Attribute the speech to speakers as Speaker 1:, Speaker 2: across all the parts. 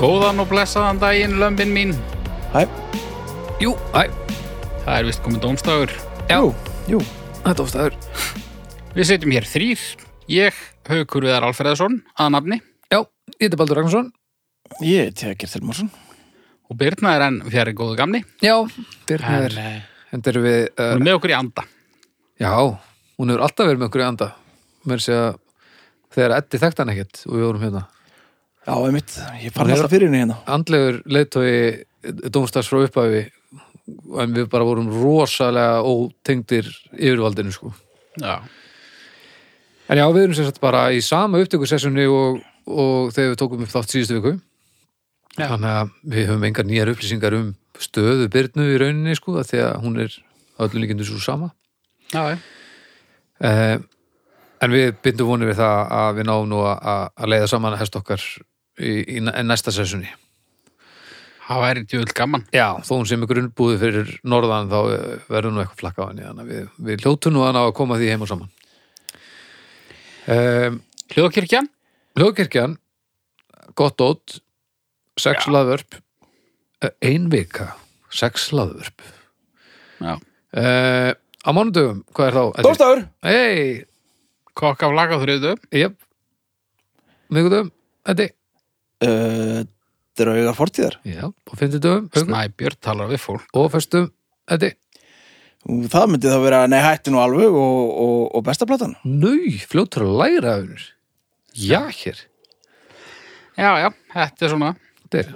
Speaker 1: Góðan og blessaðan daginn, lömbin mín.
Speaker 2: Hæ?
Speaker 3: Jú, æ,
Speaker 1: Það er vist komið dómstagur.
Speaker 3: já,
Speaker 2: Jú,
Speaker 3: þetta ofstaður
Speaker 1: Við sitjum hér þrýr. Ég, Haukur Viðar Alfreðarsson, að nafni.
Speaker 3: Já, ég heiti Baldur Ragnarsson
Speaker 2: ég er Tegir Þelmarsson.
Speaker 1: Og Birna er enn fjari góðu gamni.
Speaker 3: Já, Birnir
Speaker 1: er
Speaker 3: Hendur við, uh,
Speaker 1: með okkur í anda.
Speaker 3: já, hún hefur alltaf verið með okkur í anda Mér sé að þegar Eddi þekkt hann ekkert og við vorum hérna
Speaker 2: Já, einmitt, ég fann
Speaker 3: Hún er-
Speaker 2: alltaf fyrir henni hérna.
Speaker 3: Andlegur leiðtói dómstars frá upphæfi en við bara vorum rosalega ótengdir yfirvaldinu sko
Speaker 1: Já.
Speaker 3: En já, við erum sem sagt bara í sama upptökusessjoni og, og þegar við tókum upp þátt síðustu viku
Speaker 1: Já.
Speaker 3: Þannig að við höfum engar nýjar upplýsingar um stöðu Birnu í rauninni sko af því að hún er að öllum líkindu svo sama
Speaker 1: Já, já.
Speaker 3: Eh, en við bindum vonið við það að við náum nú að- að að leiða saman hest okkar í, í næ- næsta sessunni.
Speaker 1: Það væri djúvel gaman.
Speaker 3: Já, þó hún sem er grunnbúði fyrir norðan þá eh, verður nú eitthvað flakka á henni þannig að við, við hljótum nú að ná að koma því heim og saman. Um,
Speaker 1: Hljóðkirkjan?
Speaker 3: Hljóðkirkjan, gott ótt, sex
Speaker 1: Já.
Speaker 3: laðvörp, eh, ein vika, sex laðvörp.
Speaker 1: Já.
Speaker 3: Uh, á mánudöfum, hvað er þá?
Speaker 2: Dómstafur!
Speaker 3: Hei,
Speaker 1: Kokk af laga þriðu.
Speaker 3: jöp, miðgudöfum, þetta
Speaker 2: Uh, draugar fortíðar.
Speaker 3: Já, og fimmtu dögum
Speaker 1: Snæbjörn talar við fólk.
Speaker 3: og föstum Eddi,
Speaker 2: Ú, Það myndi þá vera, nei, hætti nú alveg og, og, og besta platan.
Speaker 3: nöy, fljótur að læra öfnir Já, hér
Speaker 1: Já, já. Þetta er svona.
Speaker 3: Þetta er,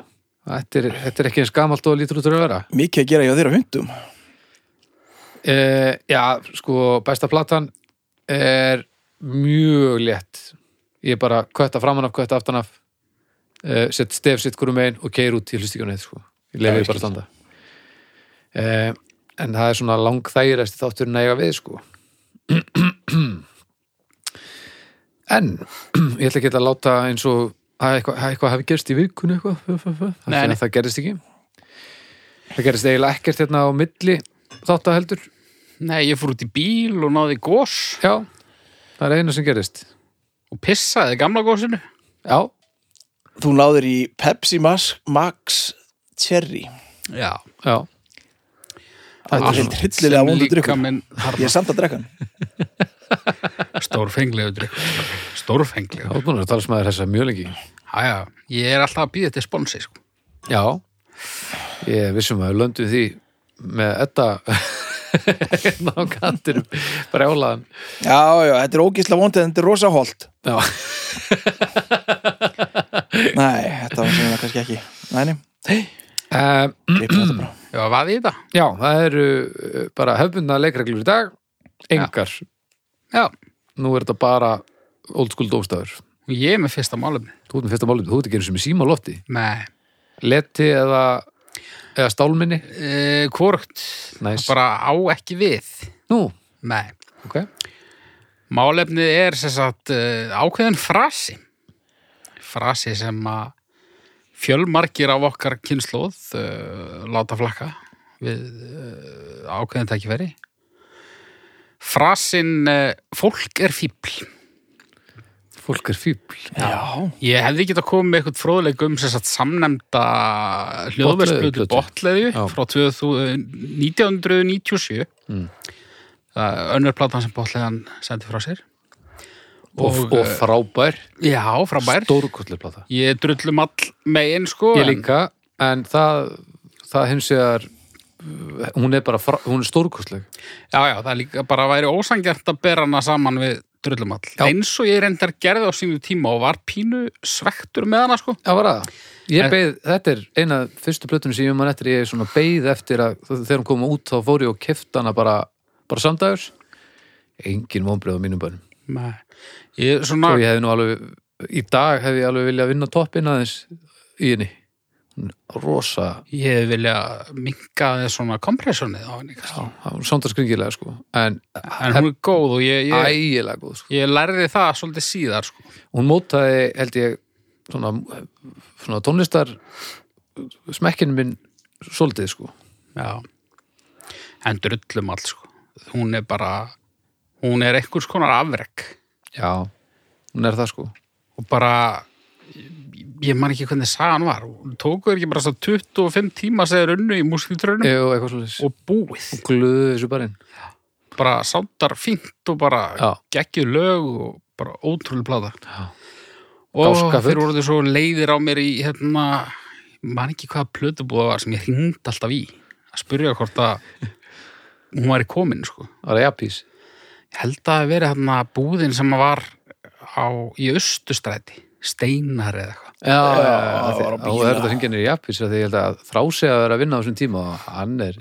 Speaker 3: þetta er, þetta er ekki eins gamalt og lítur út úr að vera
Speaker 2: Mikið að gera hjá þér á hundum.
Speaker 3: e, Já, sko, besta platan er mjög létt Ég bara kötta framan af, kötta aftan af e, sett stef sitt hverju megin og keir út í hlustíkjunni sko. Ég
Speaker 1: Já,
Speaker 3: lefi
Speaker 1: ég
Speaker 3: bara að standa e, En það er svona langþægirast þátturinn að eiga við sko En ég ætla ekki að láta eins og að eitthvað, að eitthvað hafi gerst í vikunni eitthvað, fö, fö, fö. Af því
Speaker 1: Nei,
Speaker 3: að
Speaker 1: nei.
Speaker 3: það gerist ekki Það gerist eiginlega ekkert hérna á milli þátt að heldur
Speaker 1: Nei, ég fór út í bíl og náði gós
Speaker 3: Já, það er eina sem gerist
Speaker 1: og pissaði gamla gósinu.
Speaker 3: Já,
Speaker 2: Þú náður í Pepsi Mas Max Cherry.
Speaker 1: Já.
Speaker 3: já,
Speaker 2: Það er
Speaker 3: svona
Speaker 2: heilt hryllilega vondur drikkur.
Speaker 1: minn
Speaker 2: Ég er samt að drekka hann.
Speaker 1: stórfenglegu drikkur. Stórfenglegu.
Speaker 3: þá er búin að tala sem að þessa mjög lengi
Speaker 1: Æja, ég er alltaf að býða til sponsi, sko.
Speaker 3: Já, ég er vissum að við löndum því með þetta hérna á kantinum brjálaðan
Speaker 2: Já, já, þetta er ógísla vondið en þetta er rosa holt.
Speaker 3: Já,
Speaker 2: Nei, þetta var sem það kannski ekki. Nei, nei,
Speaker 3: um,
Speaker 2: klippum þetta bara.
Speaker 1: Já, hvað í þetta?
Speaker 3: já það eru uh, bara hefbundna leikreglur í dag engar,
Speaker 1: Já,
Speaker 3: nú er þetta bara old school dómstafur
Speaker 1: og ég er með fyrsta málefni.
Speaker 3: Þú ert með fyrsta málum, þú ert ekki einu sem í síma á lofti
Speaker 1: Nei,
Speaker 3: Leti eða, eða stálminni
Speaker 1: e, hvort
Speaker 3: Næs.
Speaker 1: bara á ekki við.
Speaker 3: Nú,
Speaker 1: Nei,
Speaker 3: ok
Speaker 1: málefnið er sem sagt eh, ákveðin frasi. Frasi sem að fjölmargir af okkar kynnslóð uh, láta flakka við uh, ákveðin tækifæri. Frasin uh, fólk er fíbl.
Speaker 3: Fólk er fíbl
Speaker 2: Já,
Speaker 1: Ég hefði getað komið með eitthvað fróðleik um sem sagt samnemnda hljóðverðsplötu
Speaker 3: Bollleðju.
Speaker 1: Botleðu
Speaker 3: Já.
Speaker 1: frá 2000 1997
Speaker 3: Mm.
Speaker 1: það er önnur platan sem Botleðan sendi frá sér
Speaker 3: Og, og,
Speaker 1: eh,
Speaker 3: frábær,
Speaker 1: já, frá bær
Speaker 3: stórkostlega plata
Speaker 1: ég drullum all megin sko
Speaker 3: Ég
Speaker 1: en-
Speaker 3: líka, en það, það hins vegar uh, hún er bara, frá- hún er stórkostleg
Speaker 1: já, já, það er líka bara væri ósangjart að bera hana saman við drullum all
Speaker 3: Já.
Speaker 1: eins og ég reyndar gerði á sínum tíma og var pínu svektur með hana sko
Speaker 3: Já, var það? Ég
Speaker 1: En-
Speaker 3: beið, þetta er eina af fyrstu plötunum sem ég man eftir, ég er svona beið eftir að þegar hún koma út þá fór ég og kefti hana bara, bara samdægurs engin vonbrið á mínum bönum
Speaker 1: Nei. ég svona
Speaker 3: og ég hefði nú alveg, í dag hefði ég alveg viljað vinna toppin aðeins í henni Hún er rosa,
Speaker 1: Ég hefði viljað minka þess svona kompressionið á henni kannski.
Speaker 3: sándarskringilega sko en
Speaker 1: En hún er góð og ég, ég,
Speaker 3: ægilega góð sko.
Speaker 1: ég lærði það svolítið síðar sko.
Speaker 3: hún mótaði, held ég svona, svona tónlistar smekkinu minn svolítið sko
Speaker 1: Já. En drullum allt sko. Hún er bara, hún er einhvers konar afrek
Speaker 3: já, hún er það sko
Speaker 1: og bara ég man ekki hvernig sagan var tóku þér ekki bara svo 25 tíma segir unnu í múskitrunum
Speaker 3: Jú, eitthvað svolítið
Speaker 1: og búið
Speaker 3: og glöðu þessu bara inn
Speaker 1: bara sándar fínt og bara
Speaker 3: Já.
Speaker 1: geggjuð lög og bara ótrúlega plata
Speaker 3: Já.
Speaker 1: og
Speaker 3: Gáskafull.
Speaker 1: þeir voru svo leiðir á mér í hérna, ég man ekki hvaða plötubúða var sem ég hringd alltaf í að spyrja hvort að hún væri komin sko.
Speaker 3: var það jafnpís
Speaker 1: ég held að vera hérna búðin sem var á, í austustræti steinar eða eitthvað
Speaker 3: Já, já, já,
Speaker 2: það
Speaker 3: af því-
Speaker 2: var að
Speaker 3: og það er
Speaker 2: bíða.
Speaker 3: þetta hringinir í jafnpís því ég held að þrási að vera að vinna á þessum tíma og hann er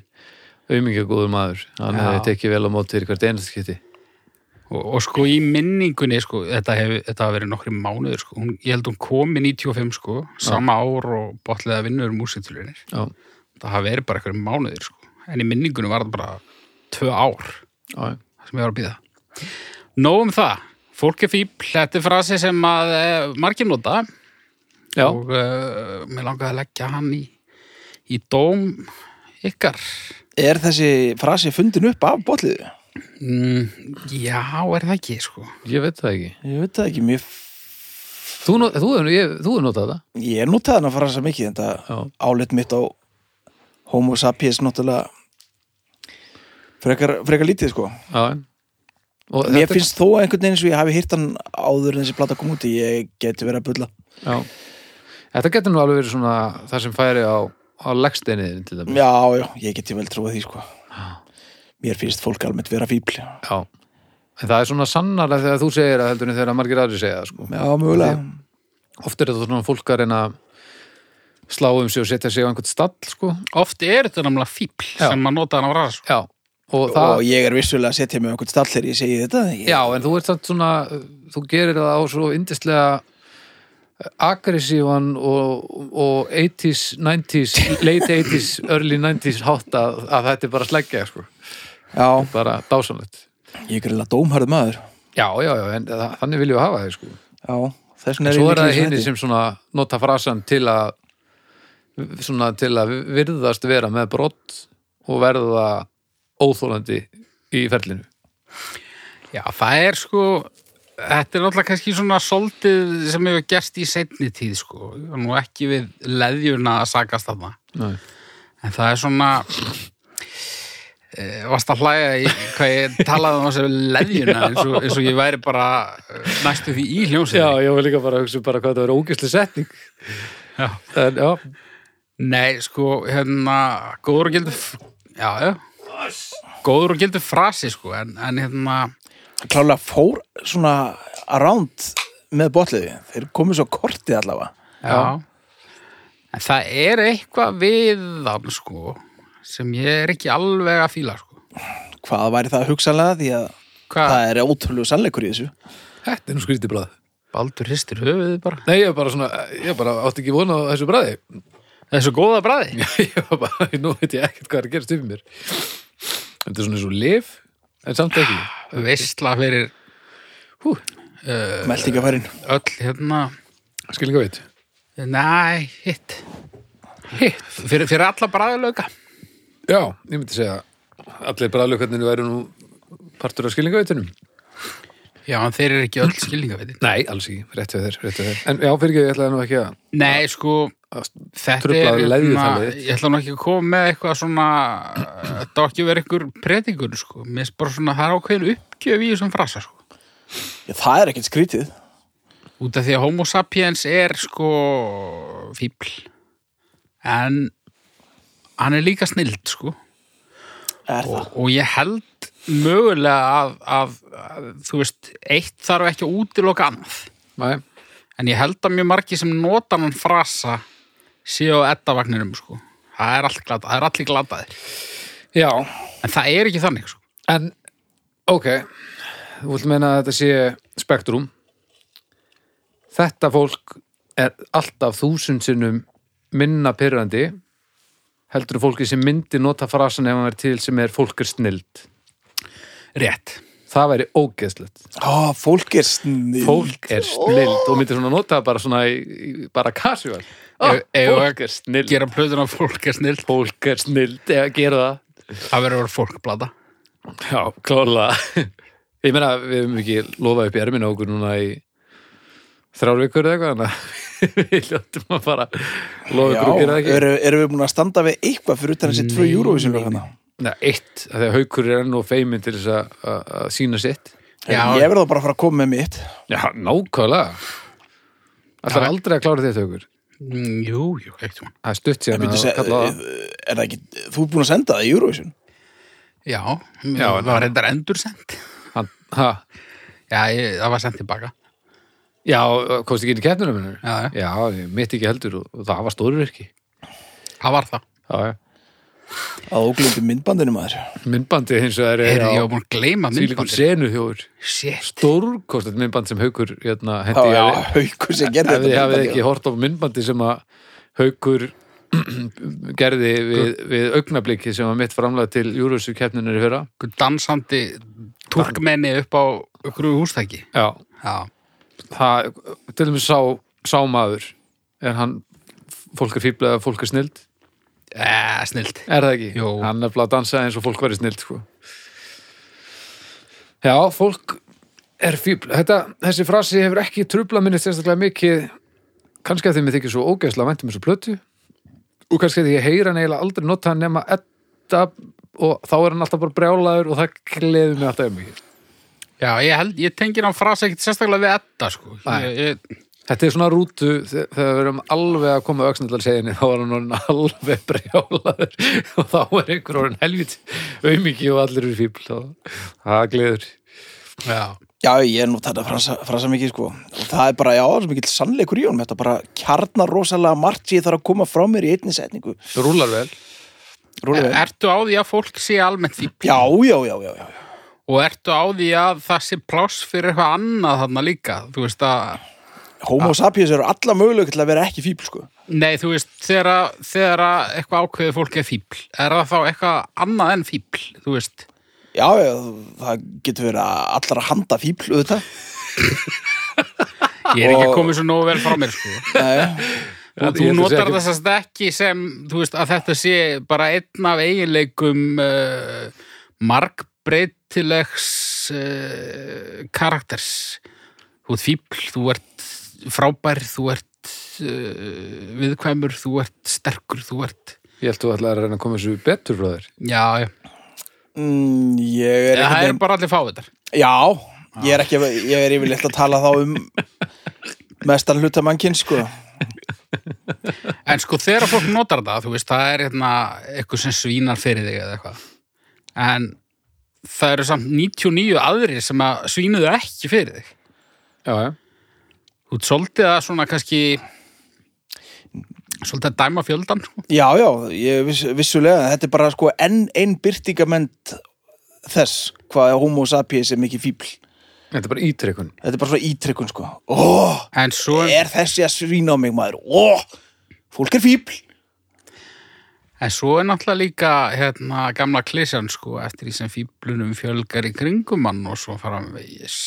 Speaker 3: auðmingja góður maður hann
Speaker 1: Já.
Speaker 3: hefði tekið vel á móti þér í hvert einast skytti
Speaker 1: og, og sko í minningunni sko, þetta hef- þetta hafa verið nokkri mánuður sko. hún, ég held hún komi 95 sko, sama ár og botliða vinnur músitilunir
Speaker 3: Já,
Speaker 1: það hafa verið bara einhverjum mánuðir sko. en í minningunum var það bara tvö ár
Speaker 3: já, já
Speaker 1: sem ég var að býða Nóg um það, fólk er fíbl þetta er frasi sem að e, margir nota
Speaker 3: Já,
Speaker 1: og e, mér langaði að leggja hann í, í dóm ykkar
Speaker 2: Er þessi frasi fundin upp af bótliðu?
Speaker 1: mm, Já, er það ekki sko
Speaker 3: ég veit það ekki
Speaker 2: Ég veit það ekki, mér...
Speaker 3: Þú, not, þú, hefur- ég, þú er notað það
Speaker 2: ég notaði hann að frasa mikið en það
Speaker 3: Já,
Speaker 2: álit mitt á homo sapiens náttúrulega frekar, frekar lítið sko
Speaker 3: já en- og
Speaker 2: Mér
Speaker 3: þetta-
Speaker 2: finnst þó einhvern veginn eins og ég hafi hýrt hann áður en þessi plata kom út ég geti verið að bulla
Speaker 3: Já. Þetta getur nú alveg verið svona það sem færi á, á leggsteinið til dæmis.
Speaker 2: Já, já, ég geti vel trúið því sko Mér finnst fólk almennt vera fíbl Já,
Speaker 3: Já. En það er svona sannarlega þegar þú segir að heldur en þegar margir aðri segja það sko.
Speaker 2: mögulega
Speaker 3: Oft er þetta svona fólk að reyna að slá um sig og setja sig á einhvern stall sko.
Speaker 1: Oft er þetta namlega fíbl
Speaker 3: Já.
Speaker 1: sem að nota hann á rasa sko.
Speaker 3: Já. Og það,
Speaker 2: Og ég er vissulega að setja mig á einhvern stall þegar ég segi þetta ég...
Speaker 3: já, en þú ert samt svona þú gerir það á svo yndislega aggressívan og, og 80s, 90s late 80s, early 90s hátt að, að þetta er bara sleggja sko.
Speaker 2: já
Speaker 3: bara dásanlegt
Speaker 2: ég er greiðlega dómharð maður
Speaker 3: Já, já, já, en það- þannig viljum við hafa þig sko.
Speaker 2: Já, þessum
Speaker 3: En
Speaker 2: er
Speaker 3: svo er það
Speaker 2: líklega
Speaker 3: hinn
Speaker 2: þessu
Speaker 3: sem svona nota frasan til að svona til að virðast vera með brott og verða óþólandi í ferlinu.
Speaker 1: Já, það er sko Þetta er náttúrulega kannski svona soldið sem hefur gerst í seinni tíð sko og nú ekki við leðjuna að sakast þarna
Speaker 3: Nei.
Speaker 1: en það er svona eh, varst að hlæja í hvað ég talaði um þessu leðjuna eins og, eins og ég væri bara eh, næstu því í hljómsinni
Speaker 3: ég var líka bara að hugsa bara hvað það er ógæsli setning.
Speaker 1: Já.
Speaker 3: En, já,
Speaker 1: Nei, sko, hérna góður og gildur f- já, já góður og gildur frasi sko en, en hérna,
Speaker 2: Klálega fór svona around með bótliði Þeir komu svo kortið allavega
Speaker 1: já en það er eitthvað við þann sko sem ég er ekki alveg að fíla sko
Speaker 2: Hvað væri það hugsanlega því að
Speaker 1: Hvað,
Speaker 2: það er ótrúlegu sannleikur í þessu
Speaker 3: þetta er nú skrítið bræð.
Speaker 1: Baldur hristir höfuðið bara
Speaker 3: Nei, ég er bara svona, ég er bara átti ekki vona á þessu bræði.
Speaker 1: Þessu góða bræði
Speaker 3: Ég var bara, nú veit ég ekkert hvað er að gerast yfir mér. Þetta er svona eins og lif, en samt ekki.
Speaker 1: Veistla fyrir
Speaker 3: Hú, Eh.
Speaker 2: Meldingafærin
Speaker 1: öll hérna
Speaker 3: skil ekki veit.
Speaker 1: Næ, hitt Hitt Fyrir, fyrir alla bræðilöka
Speaker 3: Já, ég myndi segja að allir bræðlökarnir væru nú partur af skilningaveitunum.
Speaker 1: Já, en þeir eru ekki öll skilningaveitin
Speaker 3: Nei, alls ekki, rétt við þeir, rétt við þeir. En já, fyrir ekki, ég ætlaði nú ekki að...
Speaker 1: Nei, sko, þetta er hérna-
Speaker 3: Truflaði leðjutalið þitt.
Speaker 1: Ég ætla nú ekki að koma með eitthvað svona eh, Þetta á ekki að vera ykkur predikun sko. Mér er bara svona, það er ákveðin uppgjöf í þessum frasa sko.
Speaker 2: Já, það er ekkert skrítið
Speaker 1: Út af því að homo sapiens er sko fíbl En hann er líka snild sko
Speaker 2: Er það?
Speaker 1: og, og ég held mögulega að, að, að þú veist, eitt þarf ekki að útiloka annað
Speaker 3: Nei,
Speaker 1: en ég held að mjög margi sem nota hann frasa séu á eddavagninum sko. það er, allt glata, það er allir glataðir
Speaker 3: já,
Speaker 1: en það er ekki þannig sko.
Speaker 3: en, ok, þú vilt meina að þetta sé spektrum. Þetta fólk er alltaf þúsund sinnum minna pyrrandi heldur en fólki sem myndi nota frasan ef hann er til sem er fólk er snild.
Speaker 1: rétt
Speaker 3: Það væri ógeðslegt.
Speaker 2: Ó, Ah, fólk er snill
Speaker 3: Fólk er snild og myndi svona nota það bara svona, í, í, bara casual.
Speaker 1: Ah,
Speaker 3: fólk er snild.
Speaker 1: gera plöðun á fólk er snill
Speaker 3: fólk er snild eða gera það
Speaker 1: það verður að vera fólkblata
Speaker 3: já, klálega ég meina, við hefum ekki lofað upp í ermina á okkur núna í þrjár vikur eða eitthvað þannig að við ljóttum að fara lofa ykkur
Speaker 2: Já,
Speaker 3: og gera það ekki
Speaker 2: eru, eru við búin að standa við eitthvað fyrir utan þessi tvö hérna?
Speaker 1: Nei,
Speaker 2: júróvísum
Speaker 1: nei,
Speaker 2: lög hana?
Speaker 3: Nei, eitt, af því að haukur er enn og feimin til þess að- að að sína sitt
Speaker 1: Já.
Speaker 2: Ég verða bara að fara að koma með mitt
Speaker 3: Já, nákvæmlega Það er
Speaker 1: Já.
Speaker 3: aldrei að klára þetta haukur
Speaker 1: Mm, Jú, jú, eitt hún
Speaker 3: Það er stutt síðan
Speaker 2: Býtu,
Speaker 3: að
Speaker 2: se,
Speaker 3: kalla
Speaker 2: eh, er
Speaker 3: það
Speaker 2: það ekki, þú ert búin að senda það í júróvísum?
Speaker 1: Já, Mm,
Speaker 3: Já,
Speaker 1: það
Speaker 3: en-
Speaker 1: var reyndar endursendt
Speaker 3: Hann, ha,
Speaker 1: Já, ég, það var sendt tilbaka
Speaker 3: Já, komst ekki inn í keppnunum minnur
Speaker 1: Já, já.
Speaker 3: já, ég mitt ekki heldur og, og það var stórvirki
Speaker 1: Það var það
Speaker 3: Já, já
Speaker 2: Að þú glindir myndbandinu maður
Speaker 3: Myndbandið hins vegar er
Speaker 1: Heyrðu, ég var búin að gleyma
Speaker 3: Svílíkur
Speaker 1: myndbandir
Speaker 3: senu þjóður
Speaker 1: Shit,
Speaker 3: Stórkostet myndband sem haukur hérna,
Speaker 2: Já,
Speaker 3: hendi
Speaker 2: já, haukur sem gerði
Speaker 3: Ef þið
Speaker 2: þetta
Speaker 3: hafið
Speaker 2: myndband,
Speaker 3: ekki
Speaker 2: já.
Speaker 3: hort á myndbandi sem að haukur gerði við, við augnabliki sem var mitt framlega til Júruvísu keppnunir í fyrra
Speaker 1: einhver dansandi turkmenni upp á ykkur hústæki
Speaker 3: Já,
Speaker 1: Já,
Speaker 3: það, til dæmis sá, sá maður er hann fólk er fíblega, fólk er snild
Speaker 1: eh, snilt
Speaker 3: er það ekki?
Speaker 1: Jú.
Speaker 3: Hann er bara að dansa eins og fólk verið snild sko. Já, fólk er fíbl Þetta, þessi frasi hefur ekki trubla minni sérstaklega mikið kannski að því mér þykir svo ógeðslega væntum þessu plötu og kannski að því ég heyra hann eiginlega aldrei nota hann nema etta og þá er hann alltaf bara brjálaður og það gleður mig alltaf mikið
Speaker 1: Já, ég, held, ég tengir hann frasa ekkert sérstaklega við Edda sko.
Speaker 3: Nei.
Speaker 1: ég, ég,
Speaker 3: Þetta er svona rútu þe- þegar við erum alveg að koma auksnallarseginni þá er hann orðin alveg brjálaður og þá er einhver orðin helvit auðmiki og allir eru fíbl og það gleður
Speaker 1: Já,
Speaker 2: Já, ég er nú þetta frasa, frasa mikið sko og það er bara, já, það er mikill sannleikur í honum þetta bara kjarnar rosalega margt sem ég þarf að koma frá mér í einni setningu
Speaker 3: Þú rúlar vel
Speaker 2: Rúlega.
Speaker 1: Ertu á því að fólk sé almennt fíbl
Speaker 2: Já, já, já, já, já
Speaker 1: og ertu á því að það sé pláss fyrir eitthvað annað þarna líka þú veist að,
Speaker 2: Homo
Speaker 1: Ah.
Speaker 2: sapiens eru alla möguleik til að vera ekki fíbl sko
Speaker 1: nei þú veist þegar, að- þegar að eitthvað ákveðið fólk er fíbl er það þá eitthvað annað en fíbl þú veist,
Speaker 2: Já, já, það getur verið allra handa fíbl auðvitað
Speaker 1: ég er ekki
Speaker 2: Og-
Speaker 1: komið svo nógu vel frá mér sko
Speaker 2: Nei,
Speaker 1: og þú
Speaker 3: Ég ætla að segja
Speaker 1: notar
Speaker 3: ekki-
Speaker 1: þess að ekki sem þú veist að þetta sé bara einn af eiginleikum uh, markbreytilegs uh, karakters þú ert fíbl, þú ert frábær þú ert uh, viðkvæmur, þú ert sterkur þú ert,
Speaker 3: Ég held þú ætlaðir að reyna að koma þessu betur frá þér
Speaker 1: já, já
Speaker 2: mm, ég er
Speaker 1: það
Speaker 2: einhvern
Speaker 1: er bara allir fávitar
Speaker 2: Já, ég er ekki ég er yfirleitt að tala þá um mestan hluta mannkinn sko
Speaker 1: en sko þegar fólk notar það, þú veist það er hérna eitthvað sem svínar fyrir þig eða eitthvað en það eru samt 99 aðrir sem að svínuðu ekki fyrir þig
Speaker 3: Já, já,
Speaker 1: Þú ert svolítið að svona kannski svolítið að dæma fjöldan sko.
Speaker 2: Já, já, ég viss, vissulega þetta er bara sko enn ein byrtingamend þess hvað homo sapiens er mikið fíbl
Speaker 3: þetta er bara ítrekkun
Speaker 2: Þetta er bara svona ítrykkun sko Ó,
Speaker 1: en svo,
Speaker 2: er þessi að svína á mig maður Ó, fólk er fíbl
Speaker 1: en svo er náttúrulega líka hérna, gamla klísjan sko, eftir því sem fíblunum fjölgar í kringum mann og svo framvegis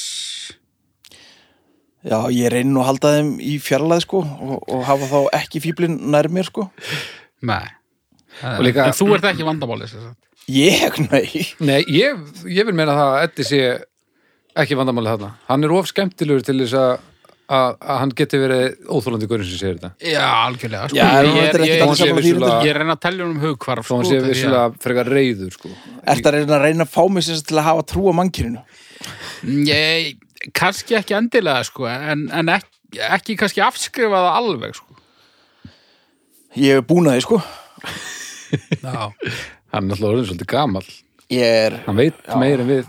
Speaker 2: Já, ég reyni nú að halda þeim í fjarlæð sko og, og hafa þá ekki fíblin nær mér sko
Speaker 1: Nei. En,
Speaker 3: Og líka-
Speaker 1: en þú ert ekki vandamálið sem sagt.
Speaker 2: Ég, nei
Speaker 3: Nei, ég, ég vil meina það að Eddi sé ekki vandamáli þarna Hann er of skemmtilegur til þess að að að hann geti verið óþólandi gurinn sem segir þetta
Speaker 1: Já, algjörlega sko.
Speaker 2: Já, en
Speaker 1: ég,
Speaker 2: þetta
Speaker 1: er,
Speaker 2: er ekki
Speaker 1: ég,
Speaker 2: allir
Speaker 1: ég,
Speaker 2: saman því
Speaker 3: vissulega-
Speaker 2: þetta
Speaker 1: ég er að reyna að telja um hugkvarf
Speaker 3: Þó hann sé vissulega frekar reyður sko.
Speaker 2: Ertu að reyna að reyna að fá mig sér til að hafa trú á mannkyninu?
Speaker 1: Ég, kannski ekki endilega sko, en, en ekki, ekki kannski afskrifa það alveg sko.
Speaker 2: Ég hef búin að því sko
Speaker 1: Já,
Speaker 3: Hann er alltaf orðin svolítið gamall
Speaker 2: Ég er
Speaker 3: Hann veit meir en við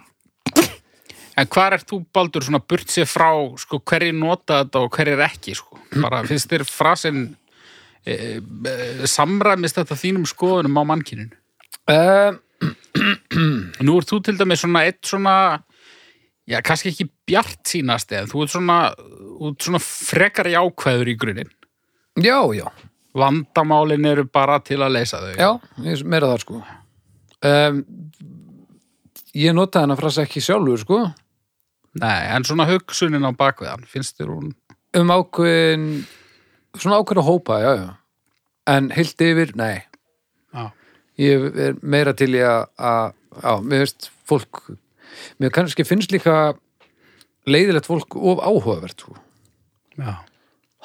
Speaker 1: En hvar ert þú, Baldur, svona burt sér frá sko, hverjir nota þetta og hverjir ekki sko? bara finnst þér frasinn e, e, samræmist þetta þínum skoðunum á mannkyninu
Speaker 3: uh,
Speaker 1: Nú ert þú til dæmis svona eitt svona já, kannski ekki bjart sínast en þú ert svona, þú ert svona frekar jákvæður í grunin
Speaker 3: Já, já,
Speaker 1: Vandamálin eru bara til að leysa þau
Speaker 3: já, ég meira það sko um, Ég notaði hennar frasa ekki sjálfur sko
Speaker 1: Nei, en svona hugsunin á bakveðan finnst þér hún
Speaker 3: um ákveðin svona ákveðin að hópa, já, já en heilt yfir, nei
Speaker 1: Já.
Speaker 3: Ég er meira til í að að- já, mér veist fólk mér kannski finnst líka leiðilegt fólk of áhugavert sko.
Speaker 1: Já,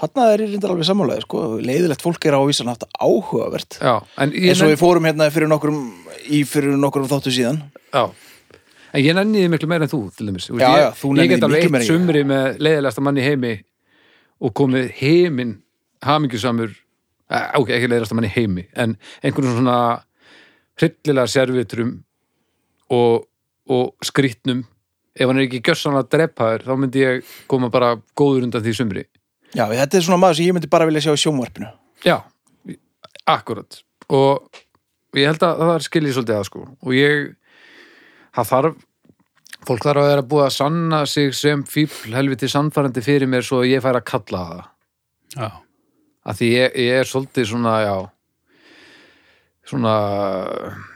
Speaker 2: Hanna er ég reyndar alveg sammálaði, sko. Leiðilegt fólk er á vísan aftur áhugavert.
Speaker 3: já, en ég,
Speaker 2: Eins og
Speaker 3: nenn,
Speaker 2: við fórum hérna fyrir nokkrum, í fyrir nokkrum þáttu síðan.
Speaker 3: já, en ég nenni þið miklu meira en þú til dæmis Þú veist,
Speaker 2: Já,
Speaker 3: ég,
Speaker 2: já, þú nennir
Speaker 3: ég
Speaker 2: því
Speaker 3: get alveg
Speaker 2: miklu meira en ég.
Speaker 3: eitt sumri með leiðilegasta manni í heimi og komið heiminn hamingjusamur eh, ok, ekki leiðilegasta manni í heimi en einhvern svona hryllilega servitrum og, og skrýtnum ef hann er ekki gjörsanlega drepaður þá myndi ég koma bara góður undan því sumri
Speaker 2: Já, þetta er svona maður sem ég myndi bara vilja sjá í sjónvarpinu.
Speaker 3: Já, akkurat og ég held að það skilji svolítið að sko og ég það þarf, fólk þarf að vera búið að sanna sig sem fíbl helviti sannfærandi fyrir mér svo að ég fær að kalla það
Speaker 1: Já.
Speaker 3: að því ég, ég er svolítið svona já, svona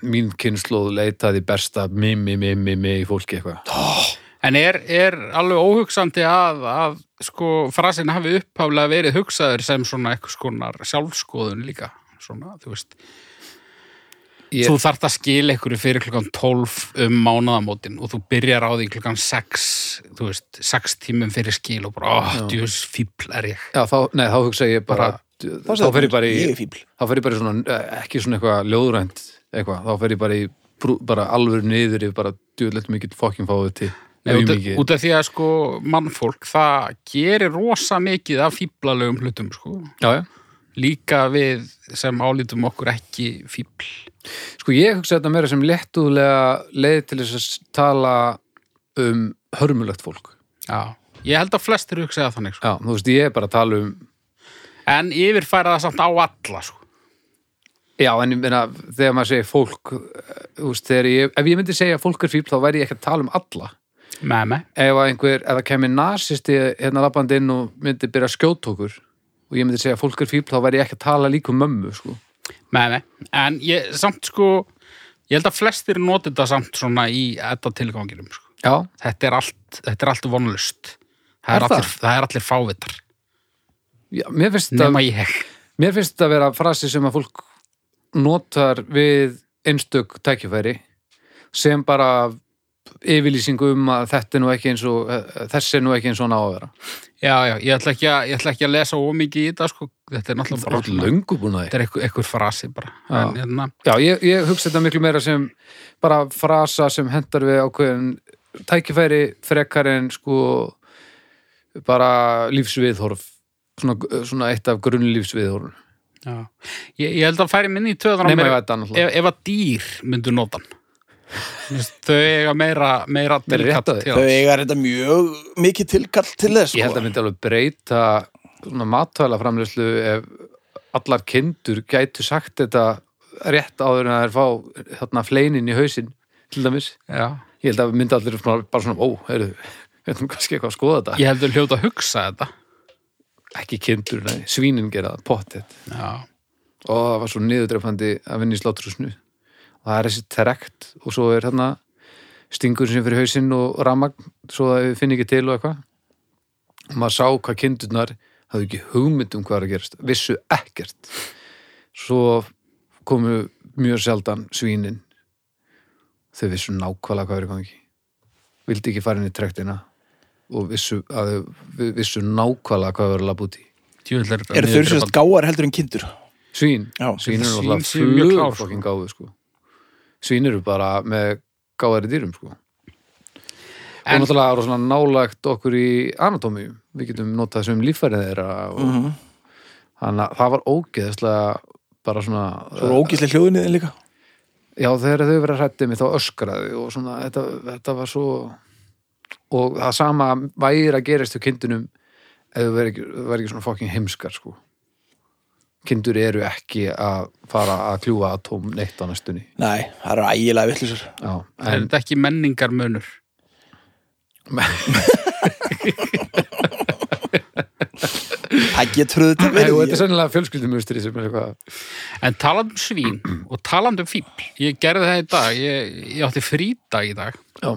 Speaker 3: mín kynnslóð leitaði besta mimi, mimi, mimi í fólki eitthvað
Speaker 1: En er, er alveg óhugsandi að, að sko, frasin hafi uppháflega verið hugsaður sem svona eitthvað skonar sjálfskoðun líka. Svona, þú veist,
Speaker 3: Ég-
Speaker 1: þú þarft að skila einhverju fyrir klukkan 12 um mánaðamótin og þú byrjar á því klukkan 6, þú veist, 6 tímum fyrir skil og bara, ó, djús, fíbl er ég.
Speaker 3: Já, þá, nei, þá hugsa ég bara,
Speaker 2: sagði
Speaker 3: þá fer ég
Speaker 2: fólk,
Speaker 3: bara í
Speaker 2: Ég er fíbl.
Speaker 3: þá fer ég bara í svona, eh, ekki svona eitthvað ljóðrænt eitthvað, þá fer ég bara í brú- bara alveg niður yfir bara djúðlegt mikið fokkin fáið til
Speaker 1: Nei, út, út af því að sko mannfólk það gerir rosa mikið af fíblalögum hlutum sko
Speaker 3: já, já.
Speaker 1: líka við sem álítum okkur ekki fíbl
Speaker 3: sko ég hugsa þetta meira sem lettúðlega leið til þess að s- tala um hörmulegt fólk
Speaker 1: Já, ég held að flestir hugsa það þannig sko.
Speaker 3: já, þú veist, ég er bara að tala um
Speaker 1: en yfirfæra það samt á alla sko.
Speaker 3: já, en ég meina, þegar maður segir fólk eh, þú veist, þegar ég, ef ég myndi segja að fólk er fíbl, þá væri ég ekki að tala um alla
Speaker 1: með með
Speaker 3: ef að einhver, ef það kemur nasisti hérna labbandi inn og myndi byrja að skjóta okkur og ég myndi segja að fólk er fíbl, þá væri ég ekki að tala líka um mömmu, sko.
Speaker 1: Nei, nei, en ég, samt sko ég held að flestir noti þetta samt svona í þetta tilganginum sko.
Speaker 3: Já,
Speaker 1: þetta er allt, þetta er allt vonlust það
Speaker 3: Er
Speaker 1: er,
Speaker 3: það?
Speaker 1: allir, það er allir fávitar
Speaker 3: Já, mér finnst
Speaker 1: nema
Speaker 3: að,
Speaker 1: ég
Speaker 3: mér finnst þetta að vera frasi sem að fólk notar við einstök tækifæri sem bara yfirlýsingu um að þetta er nú ekki eins og eh, þessi er nú ekki eins og hann á að vera
Speaker 1: já, já, ég ætla ekki að, ég ætla ekki að lesa ómikið í þetta sko. þetta er náttúrulega bara svona-
Speaker 3: löngu búin að
Speaker 1: þetta er einhver, einhver frasi bara
Speaker 3: Já.
Speaker 1: en, hérna,
Speaker 3: Já, ég, ég hugsa þetta miklu meira sem bara frasa sem hendar við ákveðin tækifæri frekar en sko bara lífsviðhorf svona, svona eitt af grunnlífsviðhorfum
Speaker 1: já. ég, ég held að færi minni í töðan
Speaker 3: nema ef
Speaker 1: ef,
Speaker 3: þetta annars
Speaker 1: ef, ef að dýr myndu notan þau eiga meira, meira
Speaker 3: Meira
Speaker 1: tilkall
Speaker 3: rétt á því.
Speaker 1: til
Speaker 2: Þau
Speaker 1: þess.
Speaker 2: eiga þetta mjög mikið tilkall til þess, sko.
Speaker 3: Ég held að myndi alveg breyta svona matvælaframlöslu ef allar kindur gætu sagt þetta rétt áður en að þær fá þarna fleinin í hausinn til dæmis.
Speaker 1: Já.
Speaker 3: Ég held að myndi allir svona, bara svona, ó, heyrðu, við ætlum kannski eitthvað að skoða þetta.
Speaker 1: ég heldur hljóta að hugsa þetta
Speaker 3: Ekki kindur, nei, svínin gera það, pottet.
Speaker 1: já,
Speaker 3: Og það var svo niðurdreifandi að vinna í slátrúsnu. Og það er þessi trekt og svo er þarna stingur sem fyrir hausinn og rammagn svo að við finnum ekki til og eitthvað. og maður sá hvað kindurnar hafði ekki hugmynd um hvað er að gerast vissu ekkert svo komu mjög sjaldan svínin þau vissu nákvæmlega hvað er í gangi vildi ekki fara inn í trektina og vissu, að, þau vissu nákvæmlega hvað verið að labba út í
Speaker 1: djúvill er
Speaker 2: Er þau sem sagt gáar heldur en kindur?
Speaker 3: svín,
Speaker 2: Já.
Speaker 3: svín eru
Speaker 1: Svín
Speaker 3: náttúrulega
Speaker 1: séu mjög klár, sko.
Speaker 3: flugfokkin gáðu sko. svín eru bara með gáðari dýrum sko. og
Speaker 1: En-
Speaker 3: náttúrulega eru svona nálagt okkur í anatómíu við getum notað þessum líffærið þeirra og
Speaker 2: Mhm.
Speaker 3: þannig að það var ógeðslega bara svona
Speaker 2: Svo er ógíslega hljóðinni þinn líka.
Speaker 3: já þegar þau verið hrættið mig þá öskraði og svona þetta, þetta var svo og það sama væri að gerist hjá kindunum ef þau verið ekki, verið ekki svona fucking heimskar sko kindur eru ekki að fara að kljúa atóm neitt á næstunni
Speaker 2: Nei, það eru ægilega vittlisar.
Speaker 3: já,
Speaker 1: er
Speaker 3: en
Speaker 1: þetta ekki menningarmunur
Speaker 2: Það getur þetta
Speaker 3: Nei, og
Speaker 2: verið.
Speaker 3: þetta er sennilega fjölskyldumustri sem er eitthvað
Speaker 1: En taland um svín og taland um fíbl, ég gerði það í dag, ég, ég átti frídag í dag
Speaker 3: Já.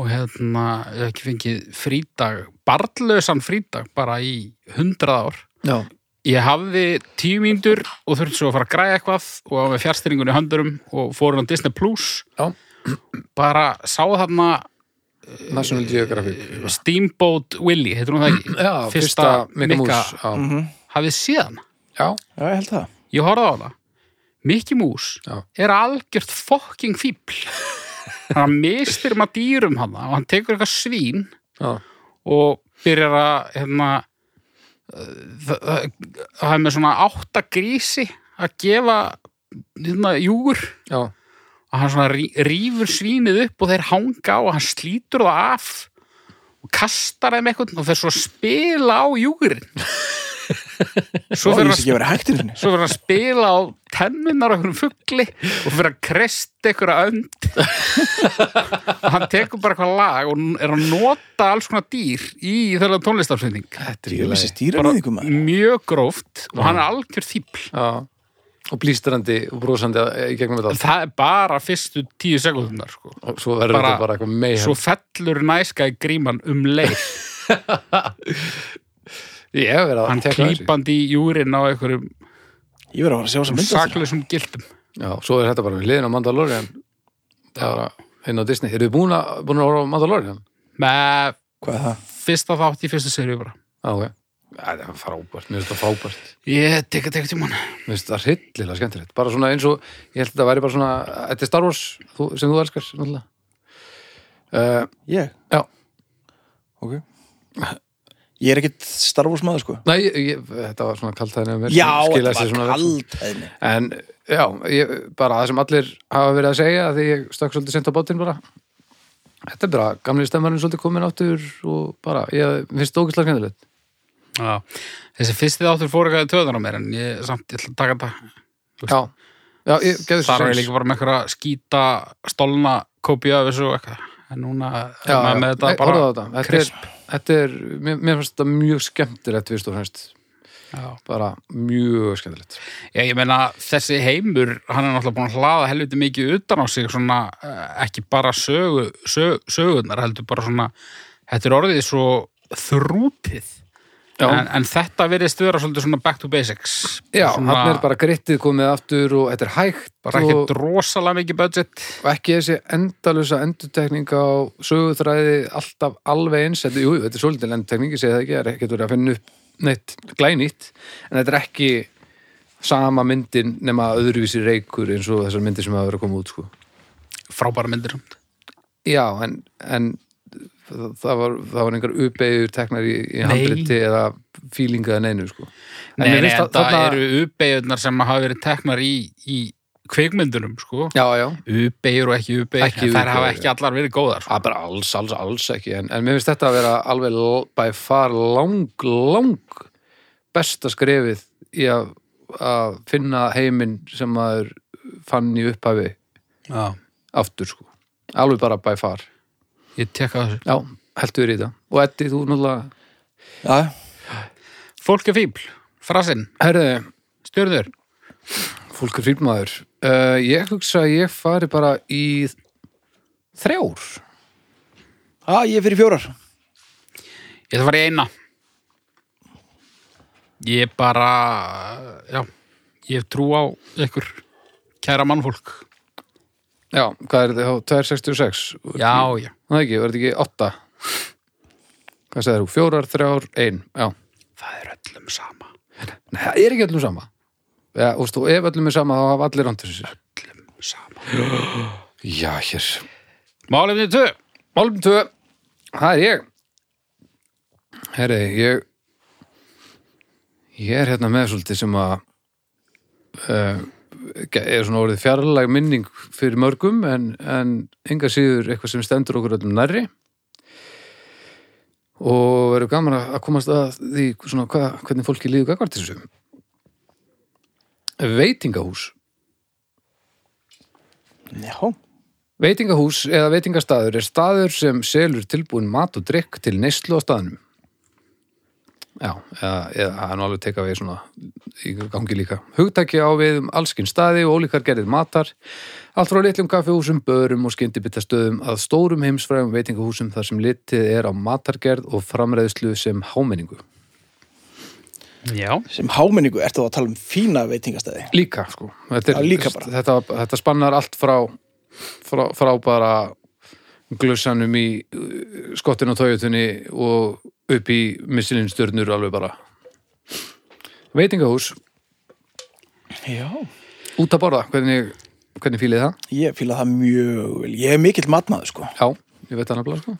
Speaker 1: og hérna, ég hef ekki fengið frídag, barnlausan frídag bara í hundrað ár.
Speaker 3: já,
Speaker 1: Ég hafði tíu mínútur og þurfti svo að fara að græja eitthvað og var með fjárstyringun í höndurum og fór hann Disney Plus.
Speaker 3: Já.
Speaker 1: Bara sá þarna
Speaker 3: National Geographic
Speaker 1: Steamboat Willie, heitir hún það ekki?
Speaker 3: Já, fyrsta Mikka Mús
Speaker 1: Mikka,
Speaker 3: já.
Speaker 1: hafið síðan.
Speaker 3: já,
Speaker 2: Já, ég held það.
Speaker 1: Ég horfði á hana. Mikki Mús
Speaker 3: Já.
Speaker 1: er algjört fokking fíbl. hann mistir um að dýrum hana og hann tekur eitthvað svín
Speaker 3: já,
Speaker 1: og byrjar að hérna það- það það er með svona átta grísi að gefa hérna, júgur
Speaker 3: já
Speaker 1: og hann svona rí- rífur svínið upp og þeir hanga á og hann slítur það af og kastar þeim eitthvað og þeir svo að spila á júgurinn
Speaker 2: Ó,
Speaker 1: svo
Speaker 2: ég
Speaker 1: fyrir
Speaker 2: vissi ekki
Speaker 1: að
Speaker 2: að vera hægt í henni.
Speaker 1: Svo fyrir að spila á tennunar á einhverjum fugli og fyrir að kresta einhverja önd og hann tekur bara eitthvað lag og er að nota alls konar dýr í þeirra tónlistafsending
Speaker 3: Þetta
Speaker 2: Ég vissi stýra
Speaker 1: Bara-
Speaker 2: með ykkur maður.
Speaker 1: mjög gróft og hann er algjör þýpl
Speaker 3: Já, og blístrandi og brosandi eh, í gegnum þetta allt.
Speaker 1: það er bara fyrstu tíu sekundunar sko.
Speaker 3: og svo verður
Speaker 1: Bara-
Speaker 3: þetta bara eitthvað meihjum
Speaker 1: svo fellur næska í gríman um leið
Speaker 3: Ég hef verið að
Speaker 1: hann
Speaker 3: tekla þessu.
Speaker 1: klípandi í júrin á einhverjum
Speaker 2: Ég verið að fara að sjá þess að mynda þetta.
Speaker 1: saklausum gildum
Speaker 3: Já, svo er þetta bara við liðin á Mandalorian bara inn á Disney Eru þið búin að, búin að horfa á Mandalorian?
Speaker 1: með
Speaker 2: Hvað er það?
Speaker 1: fyrsta þátt í fyrstu serið bara
Speaker 3: Já, ok Já, Það er frábært, mér finnst það frábært
Speaker 1: ég tek að teka tíman
Speaker 3: Mér finnst það hryllilega skemmtilegt Bara svona eins og, ég held að þetta væri bara svona Þetta er Star Wars þú, sem þú elskar náttúrulega. uh,
Speaker 2: Ég?
Speaker 3: Já.
Speaker 2: Ok. Ég er ekkit starfúrsmaður, sko.
Speaker 3: Nei, ég, ég, þetta var svona kaltæðin yfir mér,
Speaker 2: Já,
Speaker 3: skilaði
Speaker 2: þetta
Speaker 3: sér svona
Speaker 2: var
Speaker 3: vel.
Speaker 2: kald henni.
Speaker 3: En já, ég, bara það sem allir hafa verið að segja því ég stökk svolítið sent á bátinn bara Þetta er bara, gamli stemmarinn svolítið komin áttur og bara, ég mér finnst það ógæslega skemmtilegt
Speaker 1: Já, þessi fyrsti þáttur fór eitthvað í töðan á mér en ég samt, ég ætla að taka þetta
Speaker 3: Já, já ég
Speaker 1: þar
Speaker 3: gefði svo
Speaker 1: var ég
Speaker 3: sens
Speaker 1: líka bara með eitthvað skýta stolna kópi af þessu og eitthvað en núna er
Speaker 3: Já,
Speaker 1: maður
Speaker 3: já,
Speaker 1: með þetta
Speaker 3: nei,
Speaker 1: bara
Speaker 3: horfðu á þetta. Þetta er, þetta er, mér, mér finnst þetta mjög skemmtilegt fyrst og fremst,
Speaker 1: Já.
Speaker 3: bara mjög skemmtilegt
Speaker 1: Ég, ég meina þessi heimur hann er náttúrulega búin að hlaða helviti mikið utan á sig svona eh, ekki bara sögu, sög, sögunar heldur bara svona þetta er orðið svo þrútið
Speaker 3: Já,
Speaker 1: en, en þetta verðist vera svolítið svona back to basics
Speaker 3: já
Speaker 1: svona,
Speaker 3: hann er bara grittið komið aftur og þetta er hægt
Speaker 1: bara
Speaker 3: og,
Speaker 1: ekki rosalega mikið budget
Speaker 3: og ekki þessi endalusa endutekning á söguþræði alltaf alveg eins, þetta, jú, þetta er svolítil endutekning, ég segi það ekki, það er ekkert verið að finna upp neitt glænýtt, en þetta er ekki sama myndin nema öðruvísi reykur eins og þessar myndir sem hafa verið að koma út sko.
Speaker 1: frábæra myndir um
Speaker 3: Já, en, en það það var, það var einhver uppeyður teknar í, í
Speaker 1: Nei.
Speaker 3: handriti eða fílingaði neinu, sko. En
Speaker 1: Nei, nei,
Speaker 3: mér finnst
Speaker 1: en
Speaker 3: að-
Speaker 1: það
Speaker 3: þarna-
Speaker 1: eru uppeyjurnar sem hafa verið teknar í, í kveikmyndunum, sko.
Speaker 3: Já, já,
Speaker 1: Uppeyjur og ekki uppeyjur,
Speaker 3: Ekki
Speaker 1: en þær
Speaker 3: uppeyjur,
Speaker 1: hafa
Speaker 3: já.
Speaker 1: ekki allar verið góðar, sko.
Speaker 3: að Ah, bara alls, alls, alls ekki, en, en mér finnst þetta að vera alveg l- by far lang, lang besta skrefið í að, að finna heiminn sem maður fann í upphafi
Speaker 1: Já.
Speaker 3: aftur, sko. Alveg bara by far.
Speaker 1: Ég tekka þessu.
Speaker 3: Já, heldur í þetta. Og Eddi, þú náttúrulega...
Speaker 2: Já,
Speaker 1: Fólk er fíbl, frasinn,
Speaker 3: Herðu,
Speaker 1: stjörður.
Speaker 3: Fólk er fílmaður. Uh, ég hugsa að ég fari bara í þrjár.
Speaker 2: Já, ég er fyrir fjórar.
Speaker 1: Ég ætla að fara í eina. Ég bara, já, ég hef trú á ykkur kæra mannfólk.
Speaker 3: Já, hvað er þetta? 266?
Speaker 1: Já, já.
Speaker 3: Það ekki, verður ekki 8? Hvað segir þú? Fjórar, þrjár, ein. Já.
Speaker 1: Það er öllum sama.
Speaker 3: Nei, það er ekki öllum sama. Já, og stu, ef öllum er sama, þá hafa allir andur sér.
Speaker 1: Sama.
Speaker 3: Já, hér.
Speaker 1: Málefnið tvö.
Speaker 3: Málum tvö. Það er ég. Herri, ég... Ég er hérna með svolítið sem að uh, er svona orðið fjarlæg minning fyrir mörgum en, en enga síður eitthvað sem stendur okkur öllum nærri og verður gaman að að komast að því svona hva, hvernig fólki líður gagvart þessu Veitingahús
Speaker 2: Já.
Speaker 3: Veitingahús eða veitingastaður er staður sem selur tilbúin mat og drikk til neyslu á staðnum. Já, eða, eða hann alveg teka við svona í gangi líka. Hugtaki á við um allskinn staði og ólíkar gerðið matar, allt frá litlum kaffihúsum, börum og skyndibittastöðum að stórum heimsfræðum veitingahúsum þar sem litið er á matargerð og framreiðslu sem hámenningu.
Speaker 1: Já.
Speaker 2: Sem hámenningu ertu þá að tala um fína veitingastæði.
Speaker 3: Líka, sko. Þetta, er,
Speaker 2: Já, líka bara.
Speaker 3: þetta, þetta spannar allt frá, frá, frá bara glussanum í uh, skottinu og tójutunni og upp í missilinstjörnur alveg bara veitingahús,
Speaker 2: Já.
Speaker 3: út að borða hvernig, hvernig fílið það?
Speaker 2: Ég fýla það mjög vel. Ég er mikill matmaður, sko.
Speaker 3: Já, ég veit það nefnilega sko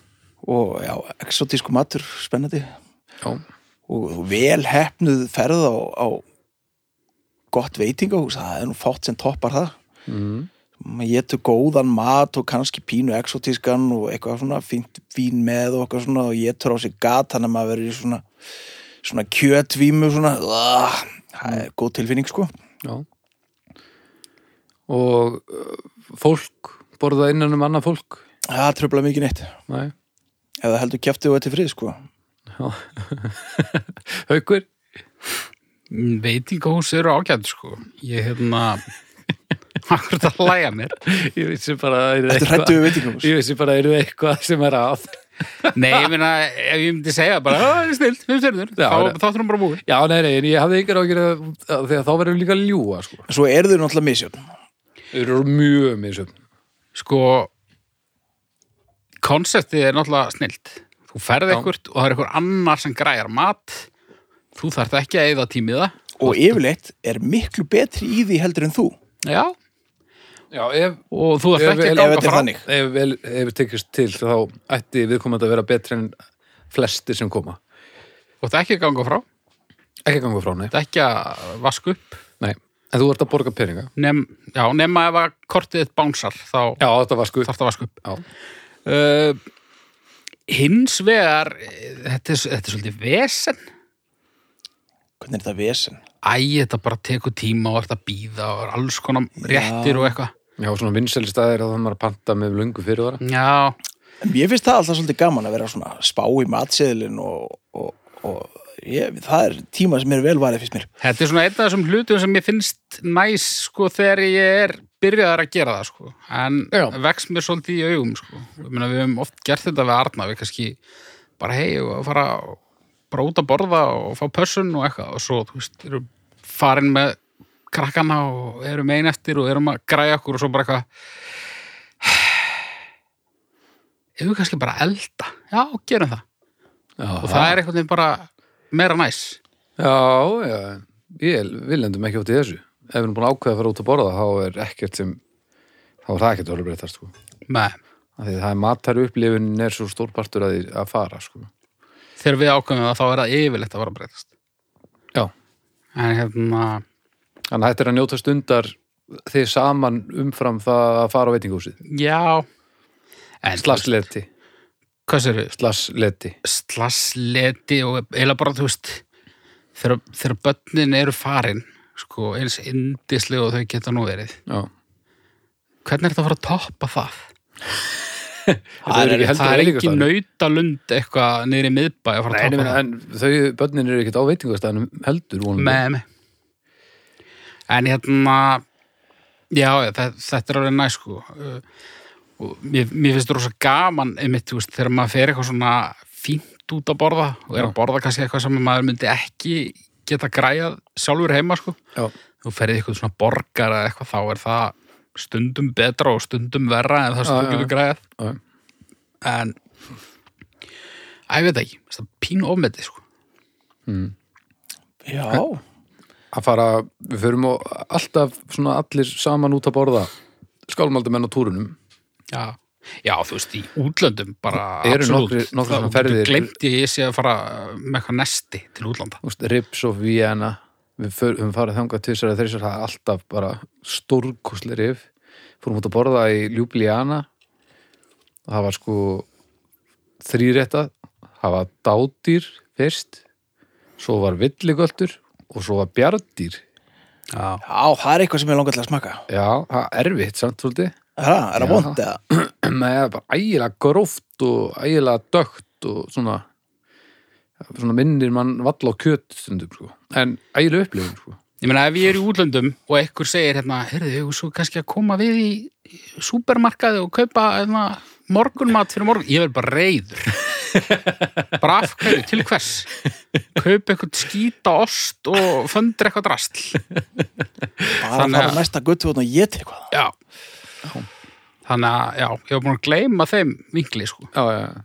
Speaker 2: Og já, exotísku matur, spennandi.
Speaker 3: Já,
Speaker 2: Og vel hefnuð ferð á, á gott veitingahús. Það er nú fátt sem toppar það.
Speaker 3: mm.
Speaker 2: Mhm. Ég getur góðan mat og kannski pínu exotískan og eitthvað svona fínt vín með og eitthvað svona og ég á sig gat þannig að maður verður í svona, svona kjötvímu svona, uh, það er góð tilfinning sko.
Speaker 3: Já. Og uh, fólk, borða innan um annað fólk?
Speaker 2: Það tröfla mikið neitt.
Speaker 3: Nei.
Speaker 2: Eða heldur kjæftið og þetta frið sko.
Speaker 3: Já. Haukur?
Speaker 1: Veitingahús eru ágætt, sko. Ég hérna... Akkur það lægja mér.
Speaker 3: Ég vissi bara að það eru
Speaker 2: Þetta rættu við veitingahús.
Speaker 3: Ég vissi bara að það eru eitthvað sem er að.
Speaker 1: Nei, ég meina, ef ég myndi segja bara, það er snilt, fimm stjörnur,
Speaker 3: Já,
Speaker 1: þá
Speaker 3: nei.
Speaker 1: þáttur hún bara búið.
Speaker 3: Já, nei, nei, en ég hafði yngar ágjur að, að því að þá verðum líka að ljúa, sko.
Speaker 2: Svo eru þau náttúrulega misjöfn.
Speaker 3: Þau eru mjög með þessu.
Speaker 1: Sko, konseptið er náttúrulega snilt. Þú ferð
Speaker 3: Já.
Speaker 1: ekkert og það er eitthvað annar sem græjar mat, þú þarft ekki að eyða tímið það.
Speaker 2: Og yfirleitt er miklu betri í því heldur en þú.
Speaker 1: Já.
Speaker 3: Já, ef,
Speaker 1: Og þú
Speaker 3: Ef-
Speaker 1: þarft ekki
Speaker 3: ef-
Speaker 1: að
Speaker 2: ef
Speaker 1: ganga
Speaker 2: þetta er
Speaker 1: frá.
Speaker 2: þannig.
Speaker 3: ef vel, ef tekist til, þá ætti viðkomandi að vera betri en flesti sem koma.
Speaker 1: Þú þarft ekki að ganga frá.
Speaker 3: Ekki ganga frá, nei.
Speaker 1: Þú þarft ekki að vaska upp.
Speaker 3: Nei. En þú ert að borga peninga.
Speaker 1: Nem, já, nema ef að kortið þitt bánsar, þá
Speaker 3: Já, þetta var sko.
Speaker 1: þarft að vaska upp.
Speaker 3: Já.
Speaker 1: Uh, hins vegar, eh, þetta er, þetta er svolítið vesen.
Speaker 2: Hvernig er þetta vesen?
Speaker 1: Æ, þetta bara tekur tíma og ert að býða og er alls konar réttir og eitthvað.
Speaker 3: Já, svona vinsæli staðir að það maður að panta með lungu fyrirvara.
Speaker 1: Já,
Speaker 2: En Mér finnst það alltaf svolítið gaman að vera svona spá í matseðlinn og, og, og ég, það er tíma sem er vel varðið fyrst mér.
Speaker 1: þetta er svona einn af þessum hlutum sem ég finnst næs sko þegar ég er byrjaðar að gera það sko. En
Speaker 3: Já.
Speaker 1: vex mér svolítið í augum sko. Ég meina við höfum oft gert þetta við Arna, við kannski bara hei og að fara og bara út að borða og fá pössun og eitthvað og svo, þú veist, erum farin með krakkana og erum ein eftir og erum að græja okkur og svo bara eitthvað ef við kannski bara elda já, gerum það
Speaker 3: Já,
Speaker 1: og það er einhvern veginn bara meira næs
Speaker 3: Já, já, ég vil endum ekki átt í þessu. Ef við erum búin að ákveða að fara út að borða, þá er ekkert sem, þá er það ekkert alveg breytast, sko.
Speaker 1: með
Speaker 3: Af því það er matar upplifunin er svo stórpartur að, því að fara, sko.
Speaker 1: þegar við ákveðum það þá er það yfirleitt að vera að breytast
Speaker 3: Já.
Speaker 1: en hérna,
Speaker 3: Þannig að þetta er að njóta stundar þið saman umfram það að fara á veitingúsið.
Speaker 1: já en
Speaker 3: Slasleti,
Speaker 1: hvað sér við?
Speaker 3: slasleti.
Speaker 1: Slassleti og eiginlega bara þú veist þegar, þegar börnin eru farin sko, eins indislega og þau geta nú verið
Speaker 3: Já.
Speaker 1: hvernig er þetta að fara að toppa það?
Speaker 3: Það er ekki heldur
Speaker 1: það er
Speaker 3: veitingastað.
Speaker 1: ekki nautalund eitthvað niður í miðbæ að fara að
Speaker 3: Nei, nei,
Speaker 1: toppa
Speaker 3: en þau, börnin eru ekkert á veitingústaðanum heldur,
Speaker 1: það
Speaker 3: vonum.
Speaker 1: með, með. en hérna já, já, þe- þetta er alveg næ sko Uh, og mér, mér finnst rosa gaman einmitt, þú veist, þegar maður fer eitthvað svona fínt út að borða og er að borða kannski eitthvað sem maður myndi ekki geta græjað sjálfur heima sko
Speaker 3: Já.
Speaker 1: þú ferði eitthvað svona borgar eða eitthvað þá er það stundum betra og stundum verra en það
Speaker 3: Já,
Speaker 1: stundum
Speaker 3: já,
Speaker 1: getur græðað
Speaker 3: já.
Speaker 1: en Æ, ég veit það ekki, það er pínu ofmeti sko.
Speaker 2: Já,
Speaker 3: að fara, við förum og alltaf svona allir saman út að borða skálmaldamenn á túrunum
Speaker 1: já. já, þú veist, í útlöndum bara
Speaker 3: Eru nokkrir- nokkrir svona ferðir-
Speaker 1: Glemt ég að ég sé að fara með eitthvað nesti til útlanda
Speaker 3: Þú veist, Rips og Vienna við förum höfum farið þangað tvisar eða þrisar það er alltaf bara stórkosli rif fórum út að borða í Ljúblíana og það var sko þrýrétta það var dádýr fyrst svo var villigöldur og svo var bjardýr
Speaker 1: Já,
Speaker 2: já, það er eitthvað sem ég langar til að smaka.
Speaker 3: já, það er erfitt samt svolítið
Speaker 2: Er það, er það
Speaker 3: Já.
Speaker 2: vond eða?
Speaker 3: Nei, það er bara ægilega gróft og ægilega dögt og svona svona minnir mann valla á kjöt stundum, sko. En ægilega upplifun, sko.
Speaker 1: ég meina ef ég er í útlöndum og einhver segir hérna, heyrðu, ég svo kannski að koma við í í supermarkaði og kaupa hérna, morgunmat fyrir morgun ég verð bara reyður bara af hverju, til hvers kaupa eitthvað skýta ost og föndur eitthvað drastl
Speaker 2: Bara
Speaker 1: Þannig
Speaker 2: að fara
Speaker 1: að-
Speaker 2: næsta guttu og ég til eitthvað.
Speaker 1: já Þannig að, já, ég var búin að gleyma þeim vinkli, sko.
Speaker 3: já, já, já.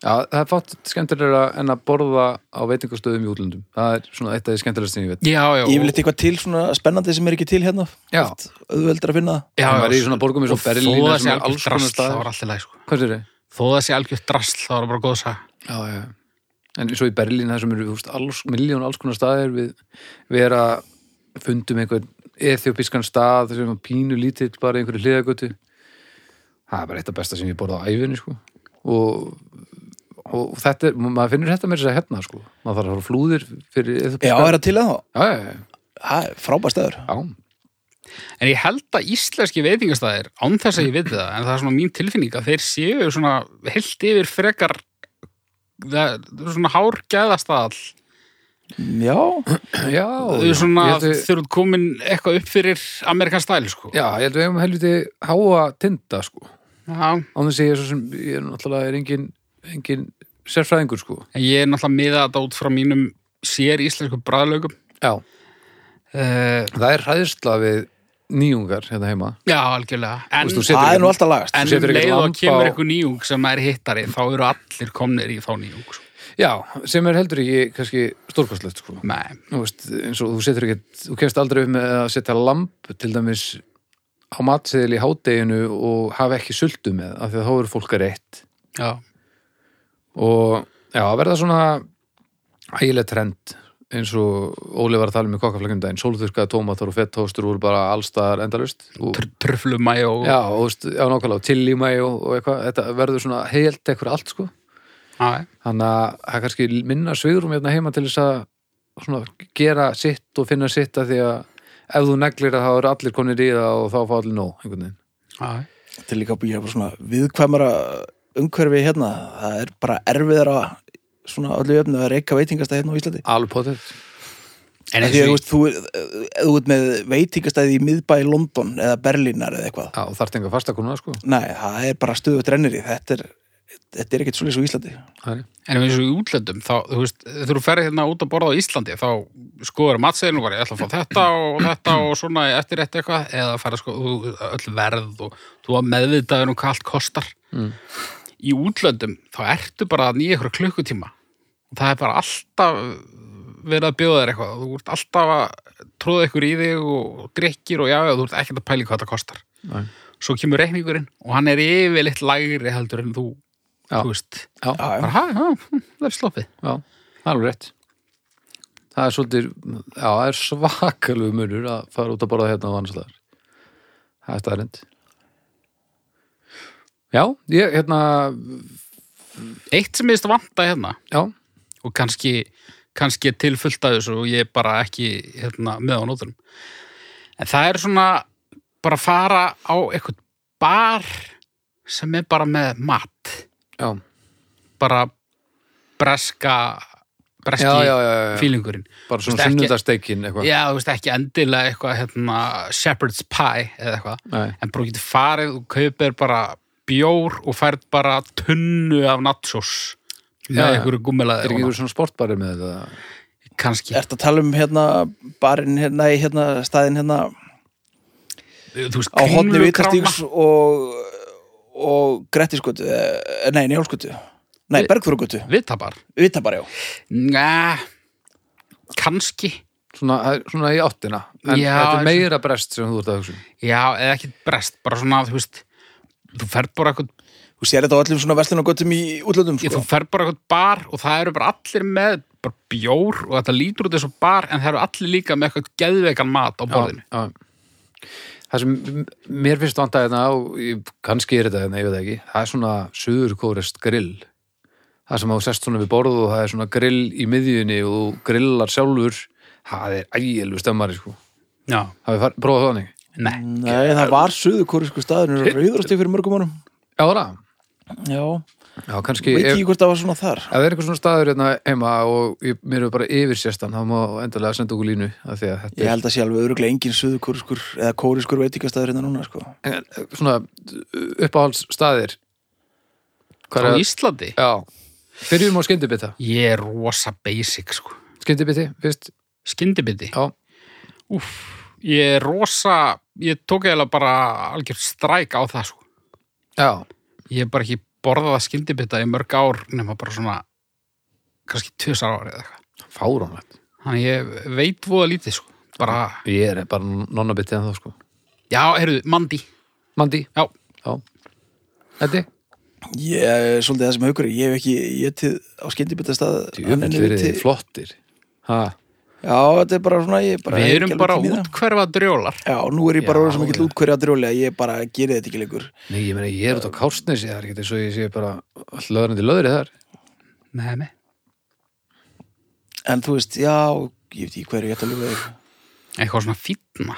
Speaker 3: já, það er fátt skemmtilega en að borða á veitingastöðum í útlöndum það er svona eitt af því skemmtilegast sem ég veit
Speaker 1: Já, já.
Speaker 2: Ég vil eitthvað til svona spennandi sem er ekki til hérna
Speaker 3: já,
Speaker 2: auðveldur að finna það.
Speaker 1: já,
Speaker 3: já,
Speaker 1: já,
Speaker 3: það er í svona borgum eins og Berlín
Speaker 1: þó það
Speaker 3: þar
Speaker 1: sé
Speaker 3: sem er
Speaker 1: algjört
Speaker 3: alls konar
Speaker 1: drasl, þá
Speaker 3: staðar
Speaker 1: var allt í lagi, sko.
Speaker 3: hvað er þetta?
Speaker 1: Þó það sé algjört drasl, þá var bara góð sag.
Speaker 3: Já, já. En svo í Berlín þar sem eru húst, alls, miljón alls konar staðir við, við er að fundum einhvern ethiopískan stað sem var pínu lítill bara í einhverju hliðagötu það er bara eitt af besta sem ég borða á æfinni sko. og, og þetta er, maður finnur þetta meira sér hérna sko. maður þarf að fara á flúðir fyrir
Speaker 2: Já,
Speaker 3: ethiopískan
Speaker 2: er það til að þá?
Speaker 3: já, já, já,
Speaker 2: Það er frábært stöður.
Speaker 3: já,
Speaker 1: En ég held að íslenski veitingastæðir, án þess að ég veit það, en það er svona mín tilfinning að þeir séu svona heilt yfir frekar, það, svona hárgæðastall.
Speaker 2: Já,
Speaker 3: já,
Speaker 1: Þau eru svona,
Speaker 3: ég held við,
Speaker 1: þau eru komin eitthvað upp fyrir amerikan stæl, sko.
Speaker 3: já, ég held við hefum helviti háa tinda sko.
Speaker 1: já.
Speaker 3: á þess að ég er svo sem ég er náttúrulega er engin, engin sérfræðingur sko.
Speaker 1: En ég er náttúrulega miða þetta út frá mínum sér íslensku bræðlögum.
Speaker 3: já
Speaker 1: Uh,
Speaker 3: Það er hræðsla við nýjungar hérna heima.
Speaker 1: já, algjörlega. En,
Speaker 3: Þú veist, þú setur
Speaker 2: það er
Speaker 3: ekki-
Speaker 2: nú alltaf lagast.
Speaker 1: en
Speaker 3: setur
Speaker 1: um
Speaker 3: ekkert
Speaker 1: leið og
Speaker 3: lamb
Speaker 1: kemur
Speaker 3: á-
Speaker 1: eitthvað nýjung sem er hittari, þá eru allir komnir í þá nýjung. sko.
Speaker 3: Já, sem er heldur ekki kannski stórkostlegt, sko.
Speaker 1: Nei,
Speaker 3: Þú veist, eins og þú setur ekki, þú kemst aldrei upp með að setja lamp til dæmis á matseðil í hádeginu og hafa ekki sultu með, af því að þá eru fólk að reitt.
Speaker 1: já.
Speaker 3: Og já, að verða svona ægileg trend eins og Óli var að tala um í kokkaflækjum daginn, sólþurkaða tómatar og fettóstur voru bara allstaðar endalust. Og,
Speaker 1: Tr Truflumæ og...
Speaker 3: já, og, þú veist, já, nákvæmlega, tilíma og, og eitthvað, þetta verður svona heilt ekkur allt, sko.
Speaker 1: Já,
Speaker 3: þannig að það er kannski minna svigrum hérna heima til þess að svona, gera sitt og finna sitt að því að ef þú neglir að það eru allir konir í það og þá fá allir nóg einhvern veginn.
Speaker 1: já.
Speaker 2: Þetta er líka búið að svona viðkvæmara umhverfi hérna. Það er bara erfiðara svona öllu öfnu að reyka veitingastæði hérna á Íslandi.
Speaker 3: alveg potið
Speaker 1: En
Speaker 2: Því að þú
Speaker 1: eins og
Speaker 2: veist, þú ef þú ert með veitingastæði í miðbæ í London eða Berlínar eða eitthvað.
Speaker 3: og þarft enga fasta konuna sko
Speaker 2: Nei, það er bara stöðu drennir í. Þetta er, þetta er ekkert svolítið svo Íslandi.
Speaker 3: Það er-
Speaker 1: en eins og í útlöndum, þá, þú veist, þegar þú ferði hérna út að borða á Íslandi, þá skoður matseðinu bara, ég ætla að fá þetta og þetta og svona eftir eitt eitthvað, eða fara sko, þú- öll verð og þú að meðvitaður um hvað allt kostar.
Speaker 3: Mm.
Speaker 1: Í útlöndum, þá ertu bara að nýja ykkur klukkutíma. Það er bara alltaf verið að bjóða þér eitthvað. Þú ert alltaf að tróða ykkur í þig og drikkir og já, já, þú ert ekkert að pæli hvað þetta kostar.
Speaker 3: Nei.
Speaker 1: Svo kemur reikningurinn og hann er yfirleitt lægri heldur en þú,
Speaker 3: Já.
Speaker 1: þú veist.
Speaker 3: já,
Speaker 2: Já, já.
Speaker 1: bara, hæ, hæ, hm, það er sloppið
Speaker 3: já, alveg rétt það er svolítið já, það er svakalegu munur að fara út að borða hérna og annars staðar það er staðarind já, ég, hérna
Speaker 1: eitt sem ég vanta hérna
Speaker 3: já,
Speaker 1: og kannski, kannski er til fullt af þessu og ég er bara ekki hérna, með á nótunum en það er svona bara að fara á eitthvað bar sem er bara með mat
Speaker 3: já,
Speaker 1: bara breska breski
Speaker 3: já, já, já, já.
Speaker 1: fílingurinn
Speaker 3: bara
Speaker 1: Þú
Speaker 3: svona
Speaker 1: veist, ekki-
Speaker 3: sunnundasteikin eitthvað
Speaker 1: já, þú veist ekki endilega eitthvað hérna, shepherd's pie eða eitthvað
Speaker 3: Nei,
Speaker 1: en bara getur farið og kaupir bara bjór og færð bara tunnu af nachos með
Speaker 3: Já, já.
Speaker 1: einhverju
Speaker 3: er
Speaker 1: gúmmelaði
Speaker 3: ekki einhver svona sportbari með þetta?
Speaker 1: kannski,
Speaker 2: Ertu að tala um hérna barinn hérna, nei, hérna staðinn hérna
Speaker 1: þú veist,
Speaker 2: á hodni
Speaker 1: kringlukrama
Speaker 2: Vitastíks og, og Grettisgötu, eh, nei, Njálsgötu nei, Bergþórugötu,
Speaker 1: viðtabar
Speaker 2: Vitabar, já
Speaker 1: Næ, kannski
Speaker 3: Svona, svona í áttina en
Speaker 1: Já,
Speaker 3: þetta
Speaker 1: eins og-
Speaker 3: er meira brest sem þú ert að hugsa um.
Speaker 1: já, eða ekki brest, bara svona þú veist, þú ferð bara eitthvað
Speaker 2: þú sér þetta á öllum svona verslunagötum í útlöndum
Speaker 1: ég, þú
Speaker 2: sko.
Speaker 1: ferð bara eitthvað bar og það eru bara allir með bara bjór og þetta lítur út þessu bar en það eru allir líka með eitthvað geðveikan mat á borðinu
Speaker 3: já. Það sem m- mér finnst vanda þetta og ég, kannski er þetta þetta, ég veit það ekki það er svona suðurkórest grill það sem þú sest svona við borð og það er svona grill í miðjunni og þú grillar sjálfur það er ægjelu stemmari sko
Speaker 1: já,
Speaker 3: hafið far- prófað þannig?
Speaker 1: nei,
Speaker 2: nei, það var suðu kórisku staður rauðrasti fyrir mörgum árum
Speaker 3: Já, það?
Speaker 2: já,
Speaker 3: Já, kannski
Speaker 2: veit
Speaker 3: ef-
Speaker 2: ekki hvort það var svona þar
Speaker 3: Ef það er einhver svona staður hérna heima og ég, mér er bara yfir sérstan, þá má endalega senda okkur línu af því að þetta
Speaker 2: ég held að sé alveg öruglega engin suðu kóriskur eða kóriskur veitingastæður hérna núna sko.
Speaker 3: er eh, svona eh, uppáhalds staðir. Hvað
Speaker 1: á
Speaker 3: er það?
Speaker 1: Íslandi
Speaker 3: Já. Byrjum á skyndibita.
Speaker 1: ég er rosa basic sko
Speaker 3: Skyndibiti, fyrst.
Speaker 1: skyndibiti
Speaker 3: Já,
Speaker 1: Úff, ég er rosa, ég tók eða bara algjör stræk á það sko.
Speaker 3: já,
Speaker 1: Ég hef bara ekki borðað að skyndibita í mörg ár nema bara svona kannski tvisar ári eða eitthvað.
Speaker 3: fáránlegt
Speaker 1: Þannig ég veit voða lítið sko. Bara,
Speaker 3: ég er bara nonnabitið en þá sko
Speaker 1: já, heyrðu, mandi.
Speaker 3: Mandi,
Speaker 1: Já,
Speaker 3: já Eddi,
Speaker 2: Ég er svolítið það sem haukur er. Ég hef ekki, ég til á skyndibita stað
Speaker 3: jöfnir verið þið flottir ha,
Speaker 2: Já, þetta er bara svona ég er bara
Speaker 1: við erum
Speaker 2: ekki alveg
Speaker 1: bara
Speaker 2: til í það.
Speaker 1: útkverfa drjólar.
Speaker 2: Já, nú er ég bara
Speaker 3: Já,
Speaker 2: orðið sem ekki
Speaker 3: já.
Speaker 2: útkverja að drjóli að ég bara gerði þetta ekki lengur
Speaker 3: nei, ég meina, ég er út á Kársnesi það er ekki eins og ég sé bara hlöðrandi löðri þar
Speaker 1: Nei, nei.
Speaker 2: En þú veist, já, ég veit ekki hverju ég ætti að lifa þig
Speaker 1: Eitthvað svona fýtna,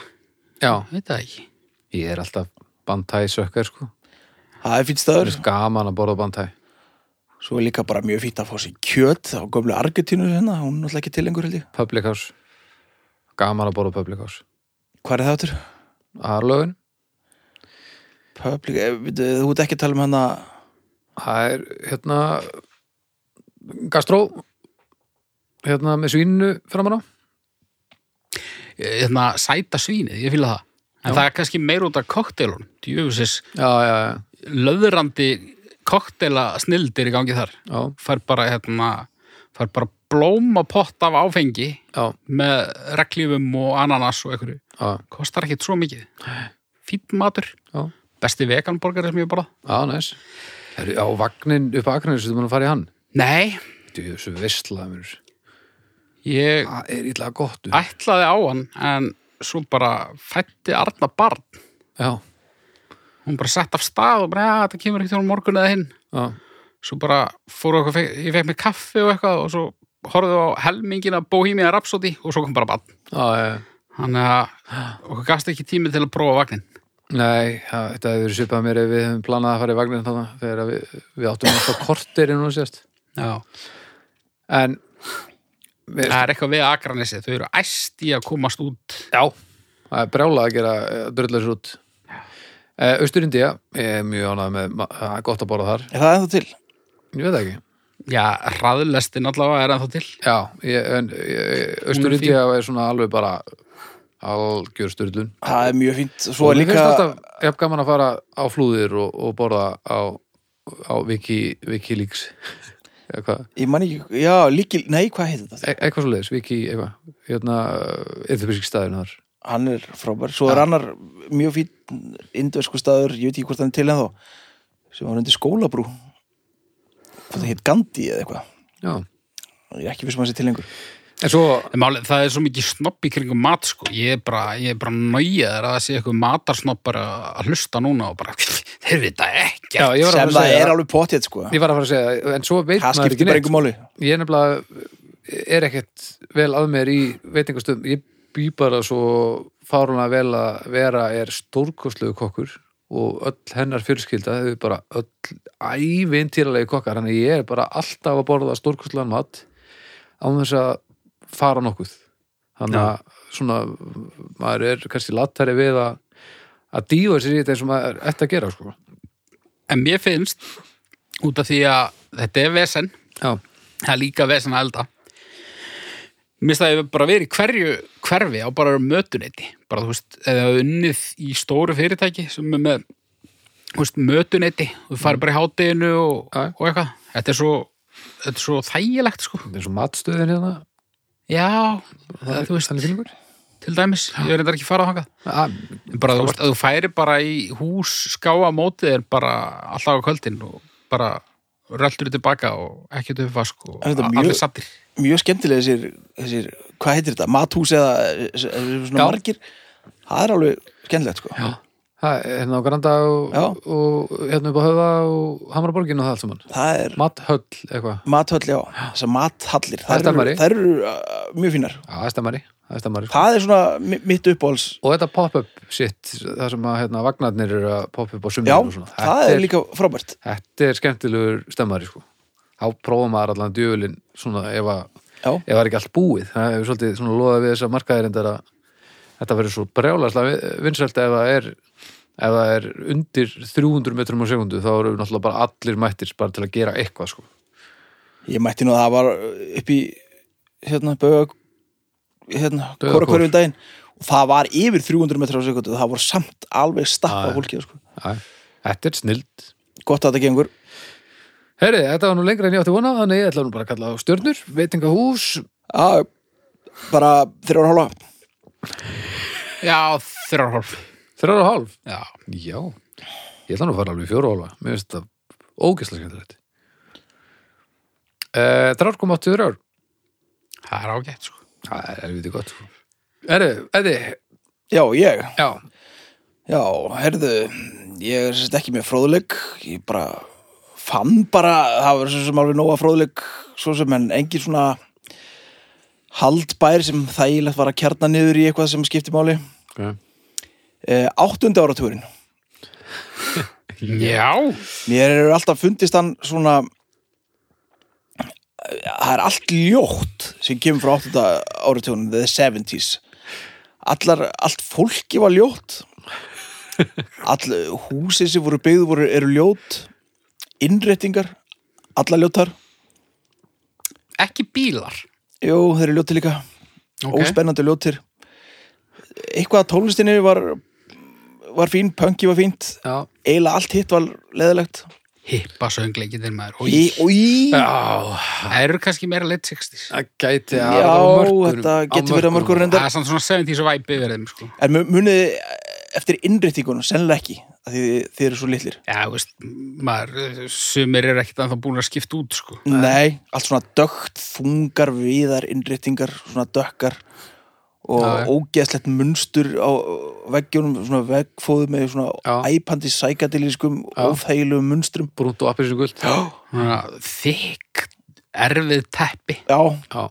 Speaker 3: já,
Speaker 1: veit það ekki.
Speaker 3: ég er alltaf bantæ sökkar sko,
Speaker 2: Það er fýtt staður
Speaker 3: það er gaman að borða bantæ
Speaker 2: Svo er líka bara mjög fýtt að fá sér kjöt á gömlu Argetínu hérna, hún er náttúrulega ekki til lengur held ég
Speaker 3: public house gaman að borða public house
Speaker 2: Hvað er það áttur?
Speaker 3: aðlögun,
Speaker 2: Public, eh, veitu, þú ert ekki að tala um hana
Speaker 3: það er hérna gastró hérna með svínu framan á
Speaker 1: Þetta hérna, sæta svínið, ég fýla það. En það er kannski meir út af kokteilun. Djöfusis,
Speaker 3: já, já, já,
Speaker 1: löðrandi kokteila snildir í gangi þar.
Speaker 3: já,
Speaker 1: Fær bara, hérna, fær bara blómapott af áfengi
Speaker 3: já,
Speaker 1: með reglífum og ananas og einhverju.
Speaker 3: já,
Speaker 1: kostar ekkit svo mikið fýtt matur,
Speaker 3: já.
Speaker 1: besti veganborgari sem ég bara
Speaker 3: Já, næs. Eru Ah, á vagnin upp að Akranir sem þú mér að fara í hann?
Speaker 1: nei,
Speaker 3: Þú, þessu veistlaði mér.
Speaker 1: ég
Speaker 3: Það er illa gott. þú.
Speaker 1: ætlaði á hann en svo bara fætti Arna barn
Speaker 3: Já,
Speaker 1: hún bara sett af stað og bara, já, þetta kemur ekkert á morgun eða hinn
Speaker 3: já,
Speaker 1: svo bara fór okkur, ég fekk mér kaffi og eitthvað og svo horfðu á helmingina Bohemian Rhapsody og svo kom bara barn
Speaker 3: já, já.
Speaker 1: þannig að okkur gafst ekki tími til að prófa vagnin
Speaker 3: Nei, það, þetta hefur verið svipað mér ef við hefum planað að fara í vagnin þarna þegar að við, við áttum alltaf kortir en hún sést.
Speaker 1: já.
Speaker 3: En, við,
Speaker 1: það er eitthvað við Akranesi, þau eru æst í að komast út
Speaker 3: já, það er brjálað að gera dröðlega sér út. Östurindía, ég er mjög ánægð með, ma- það er gott að borða þar.
Speaker 2: Er það ennþá til?
Speaker 3: Ég veit það ekki.
Speaker 1: já, hraðlestin allavega er ennþá til
Speaker 3: Já, ég, en Östurindía er svona alveg bara algjör styrlun.
Speaker 2: Það er mjög fínt Svo
Speaker 3: og
Speaker 2: er
Speaker 3: mér
Speaker 2: líka
Speaker 3: finnst alltaf jafn gaman að fara á flúðir og, og borða á, á Wiki, Wikileaks eða hvað,
Speaker 2: Ég man ekki, já, líkil, nei, hvað heitir þetta?
Speaker 3: e eitthvað svo leiðis Wiki, eitthvað, hérna eðlubisk staðurinn þar
Speaker 2: Hann er frábær, svo er annar mjög fín indversku staður, ég veit ekki hvort hann er til ennþá sem var undir skólabrú Það heit Gandhi eða eitthvað
Speaker 3: já.
Speaker 2: Ég er ekki vissum að það sé til lengur
Speaker 3: en svo,
Speaker 1: En Máli, það er svo mikið snopp í kringum mat sko. ég er bara, ég er bara nájaður að það sé eitthvað matarsnoppar að að hlusta núna og bara, þeir vita ekki
Speaker 3: já, ég var að
Speaker 2: sem
Speaker 3: fara að
Speaker 2: það
Speaker 3: segja
Speaker 2: er alveg potið sko
Speaker 3: ég var að fara að segja, en svo veit
Speaker 2: það
Speaker 3: maður
Speaker 2: skiptir
Speaker 3: ekki
Speaker 2: bara einhver
Speaker 3: neitt
Speaker 2: máli
Speaker 3: ég er nefnilega er ekkert vel að mér í veitingastöðum ég bý bara svo fáruna vel að vera er stórkostlegu kokkur og öll hennar fjölskylda þau eru bara öll ævintýralegi kokkar þannig að ég er bara alltaf að borða stórkostlegan mat án þess að fara nokkuð þannig að svona maður er kannski lattari við að að dýfa sér í þetta eins og maður ætti að gera sko.
Speaker 1: en mér finnst, út af því að þetta er vesen,
Speaker 3: já,
Speaker 1: það er líka vesen að elda Mér finnst að ég bara verið í hverju hverfi á bara mötuneyti bara þú veist, ef það er unnið í stóru fyrirtæki sem er með þú veist, mötuneyti, þú farið bara í hátteginu og,
Speaker 3: Mm. Já.
Speaker 1: og eitthvað þetta er svo, þetta er svo þægilegt sko.
Speaker 3: eins og matstöðin hérna
Speaker 1: já, það,
Speaker 3: er-
Speaker 1: þú veist
Speaker 3: þannig fílingur
Speaker 1: til dæmis, ég er reyndar ekki farað þangað
Speaker 3: að,
Speaker 1: En bara þú veist, að þú færi bara í hús skáa mótið er bara alltaf á kvöldin og bara röldur tilbaka og ekki til vask og
Speaker 2: Er þetta mjög-
Speaker 1: allir sattir
Speaker 2: mjög skemmtilega þessir, þessir hvað heitir þetta, mathús eða þessir svona
Speaker 3: Já.
Speaker 2: margir það er alveg skemmtilegt sko já,
Speaker 3: Ha, hérna á Granda og,
Speaker 2: Já.
Speaker 3: og hérna upp á höfa og Hamraborgin og það allt saman
Speaker 2: það er
Speaker 3: Matthöll eitthvað,
Speaker 2: mathöll, já, þessar mathallir
Speaker 3: Það er
Speaker 2: þær eru,
Speaker 3: stemmari.
Speaker 2: þær eru uh, mjög fínar
Speaker 3: já það er stemmari, það er stemmari sko.
Speaker 2: það er svona mi- mitt uppáhals
Speaker 3: og þetta pop-up shit það sem að hérna, vagnarnir eru að pop-up á sumir
Speaker 2: já,
Speaker 3: og svona,
Speaker 2: það er líka frábært
Speaker 3: þetta er skemmtilegur stemmari sko þá prófa maður allan djöfulinn svona ef að,
Speaker 2: já,
Speaker 3: ef það er ekki allt búið það hefur svolítið svona loðað við þessa markaðir en þetta þetta verður svo brjálaslega vinsælt ef það er ef það er undir 300 metrum á sekundu þá eru náttúrulega bara allir mættir bara til að gera eitthvað sko
Speaker 2: ég mætti nú að það var uh, upp í hérna, bauga hérna,
Speaker 3: Baugakór.
Speaker 2: hvora hverju daginn og það var yfir 300 metrar á sekundu það voru samt alveg stappað
Speaker 3: Já, já.
Speaker 2: fólkið sko.
Speaker 3: Æ. Þetta er snild.
Speaker 2: gott að þetta gengur
Speaker 3: Herri, þetta var nú lengra en ég átti vona, þannig ég ætla nú bara að kalla á stjörnur, veitingahús,
Speaker 2: Já, bara þrjá og hálfa
Speaker 1: Já, þrjárhólf.
Speaker 3: þrjára og hálf.
Speaker 1: Já,
Speaker 3: Já, ég ætla nú að fara alveg í fjóra og hálfa. Mér finnst þetta ógeðslega skemmtilegt. Uh, 3,83 ár.
Speaker 1: það er ágætt, sko.
Speaker 3: Það er helviti gott. sko. Herri, Eddi,
Speaker 2: Já, ég
Speaker 3: já,
Speaker 2: Já, herðu, ég er sérst ekki með fróðleik, ég bara fann bara, það var svo sem alveg nóga fróðleik, svo sem en engin svona haldbær sem þægilegt var að kjarna niður í eitthvað sem skipti máli.
Speaker 3: okay.
Speaker 2: Eh, áttundi áratúrin,
Speaker 1: Já,
Speaker 2: mér er alltaf fundist hann svona, það er allt ljótt sem kemur frá áttunda áratúrin, the 70s. Allar, allt fólki var ljótt all húsið sem voru byggð voru, eru ljót innréttingar, alla ljótar
Speaker 1: ekki bílar.
Speaker 2: jú, þeir eru ljótir líka
Speaker 1: Ok.
Speaker 2: óspennandi ljótir eitthvað að tónlistinni var var fín, punki var fínt
Speaker 3: já.
Speaker 2: eiginlega allt hitt var leðilegt
Speaker 1: Hippa söngleikindir maður.
Speaker 2: í,
Speaker 1: Í,
Speaker 2: og í já,
Speaker 1: það eru kannski meira leitt 60s.
Speaker 3: Það gæti að
Speaker 2: Já,
Speaker 3: hafa mörkurum-
Speaker 2: þetta
Speaker 3: á
Speaker 2: getur verið að mörkurum reyndar.
Speaker 1: Það er samt svona 70s væpi yfir þeim, sko.
Speaker 2: en mu- munið þið eftir innréttingunum, sennilega ekki af því þið, þið eru svo litlir
Speaker 1: Já, þú veist, maður, sumir eru ekkert að það búin að skipta út, sko.
Speaker 2: Nei, allt svona dögt, þungar, viðar, innréttingar, svona dökkar og
Speaker 3: Já, já.
Speaker 2: ógeðslegt munstur á veggjunum, svona veggfóðu með svona
Speaker 3: Já.
Speaker 2: æpandi sækadilískum, óþægilegum munstrum.
Speaker 3: Brúnt og appelsingult Já,
Speaker 1: Svona Þykk, erfið teppi.
Speaker 2: Já,
Speaker 3: já,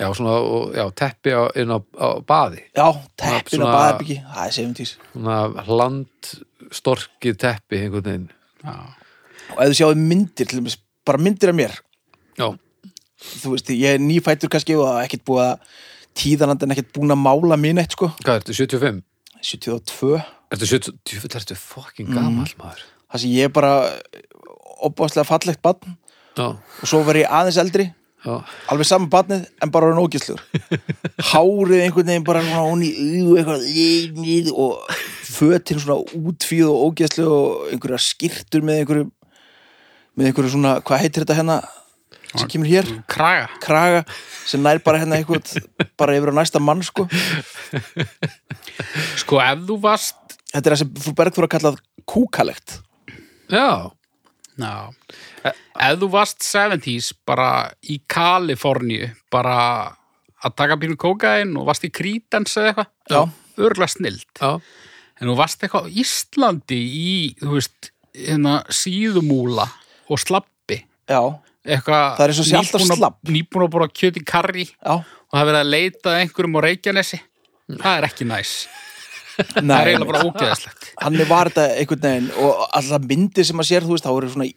Speaker 3: já, svona, og, já teppi á, inn á, á baði
Speaker 2: já, teppin
Speaker 3: Svona-
Speaker 2: og baðarbyggi, það er 70s.
Speaker 3: svona landstorkið teppi einhvern veginn
Speaker 1: Já,
Speaker 2: Og ef þú sjáðu myndir, til dæmis, bara myndir af mér,
Speaker 3: Já,
Speaker 2: þú veist, ég er nýfættur kannski og það er ekkert búið að tíðanandinn ekkert búin að mála mín eitt, sko,
Speaker 3: hvað ertu, 75?
Speaker 2: 72.
Speaker 3: Ertu 70? Djúfull, ertu fucking gamall maður
Speaker 2: Það sem ég er bara opaslega fallegt barn
Speaker 3: Já,
Speaker 2: og svo var ég aðeins eldri
Speaker 3: já,
Speaker 2: alveg saman barnið en bara hann ógæslegur hárið einhvern veginn bara svona hún í augu eitthvað í- í- og fötin svona útfíð og ógæsleg og einhverja skýrtur með einhverju með einhverju svona, hvað heitir þetta hérna sem kemur hér,
Speaker 1: kraga.
Speaker 2: kraga sem nær bara hérna einhvern bara yfir á næsta mann sko
Speaker 1: Sko, ef þú varst...
Speaker 2: þetta er það sem frú Bergþóra kallað kúkalegt
Speaker 3: já
Speaker 1: Já. Ef þú varst 70s bara í Kaliforníu, bara að taka bínu kókaðin og varst í Krítans eða eitthvað,
Speaker 2: Já.
Speaker 1: örgulega snild.
Speaker 3: Já,
Speaker 1: En þú varst eitthvað á Íslandi í, þú veist, hérna síðumúla og slabbi.
Speaker 2: já,
Speaker 1: Eitthvað
Speaker 2: Það er eins og sé alltaf
Speaker 1: nýbúin að-
Speaker 2: slabb.
Speaker 1: Nýbúin að bóra kjöti karri
Speaker 2: já,
Speaker 1: og það er verið að leita að einhverjum á Reykjanesi. Það er ekki næs. Það er
Speaker 2: nei
Speaker 1: eiginlega bara ógeðaslegt.
Speaker 2: hann var þetta einhvern veginn og alltaf myndir sem að sér, þú veist, þá eru svona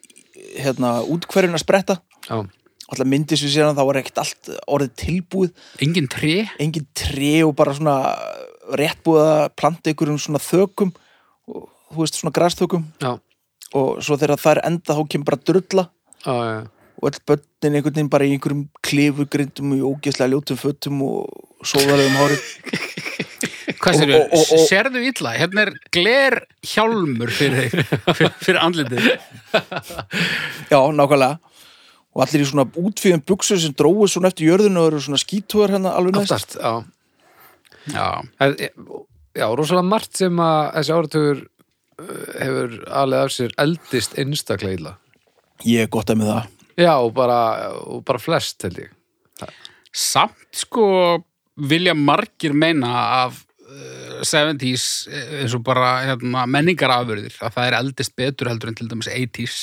Speaker 2: hérna, útkverjun að spretta
Speaker 3: já,
Speaker 2: alltaf myndir sem séðan þá var ekkert allt orðið tilbúið,
Speaker 1: Engin tré.
Speaker 2: engin tré og bara svona rétt búið að planta ykkur um svona þökum og, þú veist svona grasþökum
Speaker 3: já,
Speaker 2: og svo þegar það er enda þá kemur bara drulla
Speaker 3: já, já.
Speaker 2: og öll börnin einhvern veginn bara í einhverjum klifurgrindum og í ógeðslega ljótum fötum og sóðalegum hárið
Speaker 1: Hvað
Speaker 2: Og-
Speaker 1: sérðu?
Speaker 2: og- og- og-
Speaker 1: Sérðu illa? Hérna er gler hjálmur fyrir, fyrir, fyrir andlitið.
Speaker 2: Já, nákvæmlega og allir í svona útfíðum buksur sem dróið svona eftir jörðinu og eru svona skítúar hérna alveg næst
Speaker 3: Aftast, já
Speaker 1: Já,
Speaker 3: Það- Já, rosalega margt sem að þessi áratugur uh, hefur alveg af sér eldist einstaklega illa
Speaker 2: Ég er gott að með það
Speaker 3: Já, og bara, og bara flest, held ég
Speaker 1: samt sko vilja margir meina af uh, 70s eh, eins og bara hérna, menningarafurðir að það er eldist betur heldur en til dæmis 80s.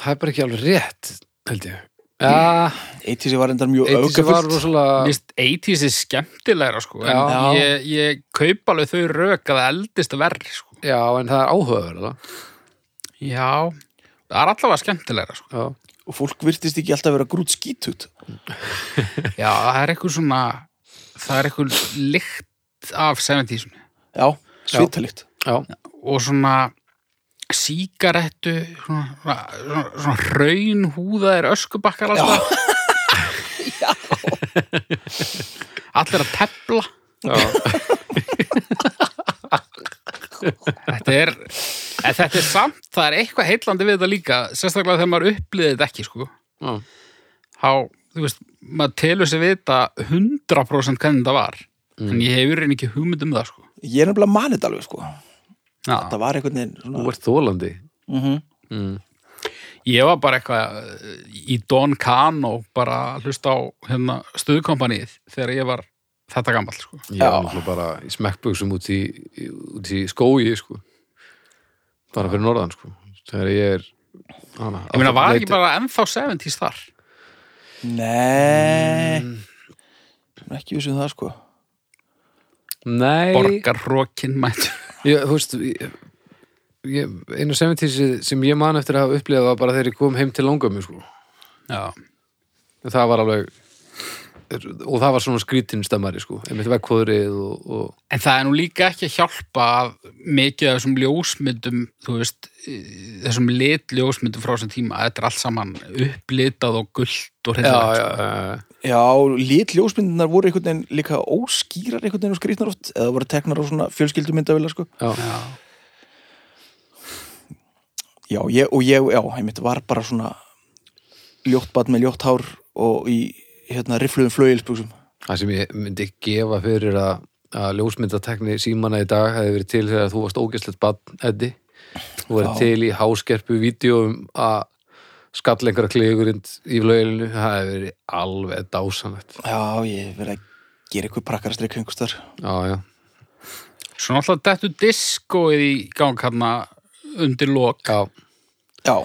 Speaker 3: Það er bara ekki alveg rétt, held ég. Já,
Speaker 2: Eitt sem var endar mjög
Speaker 3: eitt sem
Speaker 2: aukafullt
Speaker 3: var
Speaker 1: Mér
Speaker 3: rosalega...
Speaker 1: finnst 80s er skemmtilegra sko en
Speaker 3: Já.
Speaker 1: ég, ég kaup alveg þau rök að það eldist verri sko.
Speaker 3: Já, en það er áhugaverða.
Speaker 1: Já, það er allavega skemmtilegra sko.
Speaker 3: Já,
Speaker 2: og fólk virtist ekki alltaf vera grút skítut
Speaker 1: Já, það er eitthvað svona það er eitthvað lykt af 70s
Speaker 2: Já, svitalikt
Speaker 3: já,
Speaker 1: og svona sígarettu svona, svona, svona, svona raun húðaðir öskubakkar alltaf allir að tepla
Speaker 3: já.
Speaker 1: þetta er, en þetta er samt, það er eitthvað heillandi við þetta líka, sérstaklega þegar maður upplýði þetta ekki, sko.
Speaker 3: Já.
Speaker 1: Há, þú veist, maður telur sér vita 100% hvernig þetta var, en ég hefur reyni ekki hugmynd um það, sko.
Speaker 2: Ég er nefnilega manið alveg, sko.
Speaker 1: Já.
Speaker 2: Það var einhvern veginn svona...
Speaker 3: Þú ert þólandi
Speaker 2: Mm
Speaker 3: mm.
Speaker 1: Ég var bara eitthvað eh, í Don Cano, bara að hlusta á hérna, stuðkompanið þegar ég var þetta gamall, sko.
Speaker 3: Ég
Speaker 2: Já.
Speaker 3: var náttúrulega bara í smekkbuxum út í, út í skói sko. bara fyrir norðan sko. þegar ég er hana,
Speaker 1: Ég meina, var ekki bara ennþá 70s þar?
Speaker 2: Nei,
Speaker 3: Mm.
Speaker 2: ekki vissum það, sko.
Speaker 3: Nei,
Speaker 1: Borgarrókin mættu.
Speaker 3: ég, þú veist ég, ég, einu semintísið sem ég man eftir að hafa upplifað var bara þegar ég kom heim til langömmu sko.
Speaker 1: Já.
Speaker 3: En það var alveg og það var svona skrítin stemmari sko. einmitt vekkvöðrið og, og
Speaker 1: En það er nú líka ekki að hjálpa að mikið af þessum ljósmyndum, þú veist, í þessum litljósmyndum frá þessum tíma, þetta er allt saman upplitað og gullt og hreindar.
Speaker 3: já, já.
Speaker 2: Já, lít ljósmyndunar voru einhvern veginn líka óskýrar einhvern veginn og skrýtnar oft eða voru teknar á svona fjölskyldumyndavila, sko.
Speaker 3: Já.
Speaker 2: Já, ég, og ég, já, einmitt var bara svona ljótt bat með ljótt hár og í hérna rifluðum flögilsbuxum.
Speaker 3: Það sem ég myndi gefa fyrir að, að ljósmyndatekni símana í dag hefði verið til þegar þú varst ógæslegt bann, Eddi. Þú verið
Speaker 2: Já.
Speaker 3: til í háskerpu vídjóum að skall einhverja klíðugurind í flögilinu. Það hefði verið alveg dásanlegt.
Speaker 2: Já, ég hef verið að gera eitthvað prakkarastreik hengustar.
Speaker 3: Já, já.
Speaker 1: Svo náttúrulega dettu diskóið í gang hérna undir lok.
Speaker 3: Já,
Speaker 2: Já,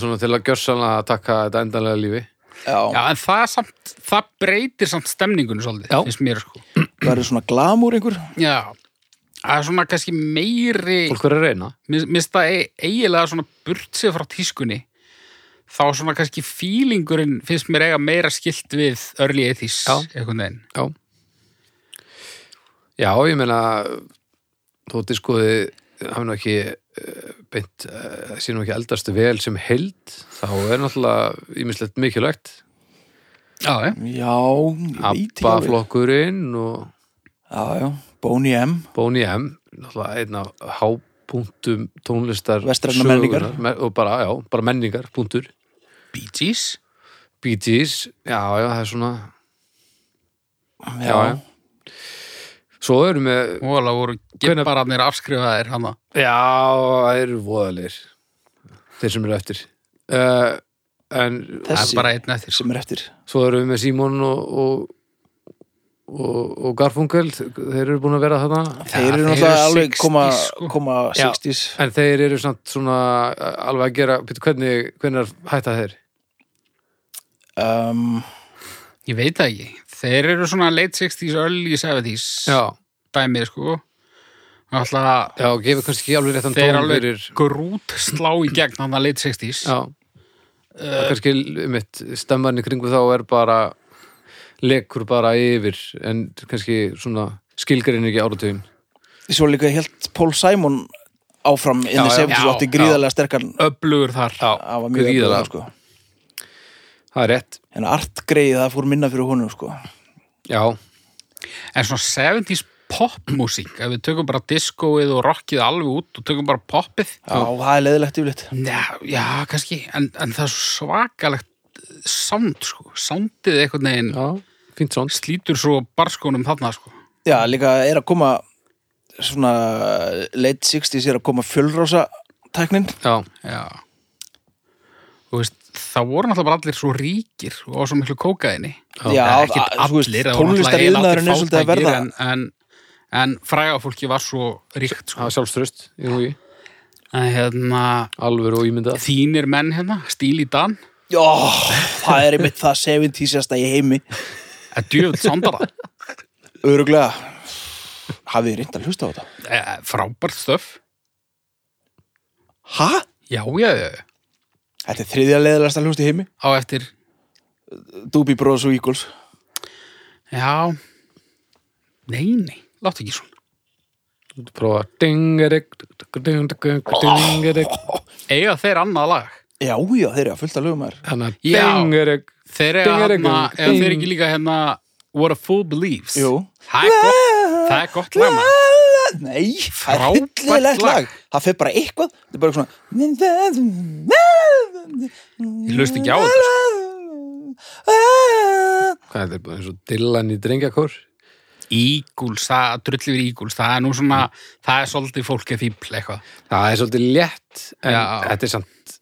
Speaker 3: svona til að gjörsanlega að taka þetta endanlega lífi.
Speaker 2: já,
Speaker 1: Já, en það, er samt, það breytir samt stemningunni svolítið,
Speaker 3: Já.
Speaker 1: finnst mér sko.
Speaker 2: verður svona glamúr einhver.
Speaker 1: Já, það er svona kannski meiri,
Speaker 3: Fólk verið að reyna.
Speaker 1: mér mér finnst það e- eiginlega svona burt sig frá tískunni, þá svona kannski fílingurinn finnst mér eiga meira skilt við early 80s,
Speaker 3: Já.
Speaker 1: einhvern veginn.
Speaker 3: Já. Já, ég meina, þótti skoði, hafi nú ekki eh, beint, eh, sé nú ekki eldast vel sem held, þá er náttúrulega ímislegt mikilvægt.
Speaker 1: Já, já.
Speaker 2: Já, ég veit ekki alveg.
Speaker 3: Abba-flokkurinn og
Speaker 2: Já, já, Boney M.
Speaker 3: Boney M, náttúrulega einn af hápunktum tónlistar
Speaker 2: Vestrænar
Speaker 3: sögunnar,
Speaker 2: menningar.
Speaker 3: me- og bara, já, bara menningar, punktur
Speaker 1: Bee Gees?
Speaker 3: Bee Gees, já, já, það er svona
Speaker 2: Já,
Speaker 3: já. svo erum við
Speaker 1: Óla voru
Speaker 3: Hvenær-
Speaker 1: gippararnir afskrifaðir hana.
Speaker 3: Já, það eru voðalegir Þeir sem eru eftir uh, En
Speaker 1: Það
Speaker 2: Þessi
Speaker 1: er bara einn sko. eftir.
Speaker 2: sem er eftir.
Speaker 3: svo erum við með Simon og, og, og, og Garfunkel Þeir eru búin að vera þarna
Speaker 2: Þeir eru
Speaker 1: þeir
Speaker 2: náttúrulega
Speaker 1: eru
Speaker 2: alveg
Speaker 1: 60s,
Speaker 2: koma,
Speaker 1: sko.
Speaker 2: koma
Speaker 3: Já.
Speaker 2: 60s.
Speaker 3: En þeir eru samt svona uh, alveg að gera Býttu, hvernig, hvernig hætta þeir?
Speaker 2: Um,
Speaker 1: Ég veit það ekki. Þeir eru svona late 60s, early 70s
Speaker 3: Já, dæmið
Speaker 1: sko. Alltaf
Speaker 3: Já, gefur kannski ekki alveg réttan
Speaker 1: þeir
Speaker 3: tón
Speaker 1: alveg
Speaker 3: fyrir
Speaker 1: grút slá í gegn hann að late 60s.
Speaker 3: Já
Speaker 1: Eh.
Speaker 3: uh, Kannski mitt stemmarni kringu þá er bara lekur bara yfir en kannski svona skilgarinn ekki áratugin
Speaker 2: svo líka helt Paul Simon áfram inn
Speaker 3: Já,
Speaker 2: í
Speaker 3: já.
Speaker 2: 70s og átti
Speaker 1: Já,
Speaker 2: gríðarlega sterkan
Speaker 1: Öflugur þar.
Speaker 3: Já,
Speaker 2: Það var mjög öflugur,
Speaker 3: Gríðarlega.
Speaker 2: sko.
Speaker 3: það er rétt
Speaker 2: En art greið, það fór minna fyrir honum, sko.
Speaker 3: Já,
Speaker 1: En svona 70s popmusík, ef við tökum bara diskóið og rockið alveg út og tökum bara poppið.
Speaker 2: Já, það er leðilegt yfirleitt.
Speaker 1: Já, já kannski. En, en það er svo svakalegt sound, sko. Soundið einhvern veginn
Speaker 3: já, fínt svont
Speaker 1: slítur svo barskónum þarna, sko.
Speaker 2: Já, líka er að koma svona late 60s er að koma fjölrása tæknin.
Speaker 3: Já,
Speaker 1: Já. Þú veist, það voru náttúrulega bara allir svo ríkir og á svo miklu kókaðinni.
Speaker 2: Já,
Speaker 1: ekki
Speaker 2: að- þú veist,
Speaker 1: allir. það voru
Speaker 2: tónlistar
Speaker 1: náttúrulega
Speaker 2: iðnaðurinn er
Speaker 1: heilaldir
Speaker 2: svolítið að
Speaker 1: fátækir,
Speaker 2: verða-
Speaker 1: En, en, en frægafólki var svo ríkt, sko.
Speaker 3: það er sjálfströst í húi,
Speaker 1: En hérna,
Speaker 3: alvöru og ímyndað
Speaker 1: þínir menn hérna, stíl í dan,
Speaker 2: Já, það er einmitt það 70sasta í heimi.
Speaker 1: að djöfn sandara.
Speaker 2: Öruglega, hafið þið reynd að hlusta á þetta?
Speaker 1: Eh, Frábært stöf.
Speaker 2: Ha?
Speaker 1: Já, já, já.
Speaker 2: Þetta er þriðja leðilegasta hlust í heimi.
Speaker 1: Á eftir,
Speaker 2: Doobie Bros og Eagles.
Speaker 1: já, nei, nei, láttu ekki svona.
Speaker 3: Prófa dingerik dingerik
Speaker 1: Eiga þeir annað lag.
Speaker 2: Já, já, þeir eru að fullta lögum þær.
Speaker 3: þannig að
Speaker 1: Já.
Speaker 3: dingerik
Speaker 1: Þeir eru
Speaker 3: Ding er ekki-
Speaker 1: hérna, eða þeir eru
Speaker 3: ding.
Speaker 1: ekki líka hérna What a Fool Believes.
Speaker 2: Jú.
Speaker 1: Það er gott, það er gott lag maður.
Speaker 2: Nei, það er
Speaker 1: Frábært
Speaker 2: hillilegt lag.
Speaker 1: lag.
Speaker 2: það fer bara eitthvað það er bara svona
Speaker 1: Ég hlust ekki á þetta,
Speaker 2: þetta
Speaker 3: Hvað er þetta, bara eins og Dylan í drengjakór?
Speaker 1: Íguls, það, drull yfir Íguls, það er nú svona, það er svolítið fólkið fíbl eitthvað.
Speaker 3: Það er svolítið létt, en
Speaker 1: Já.
Speaker 3: þetta er samt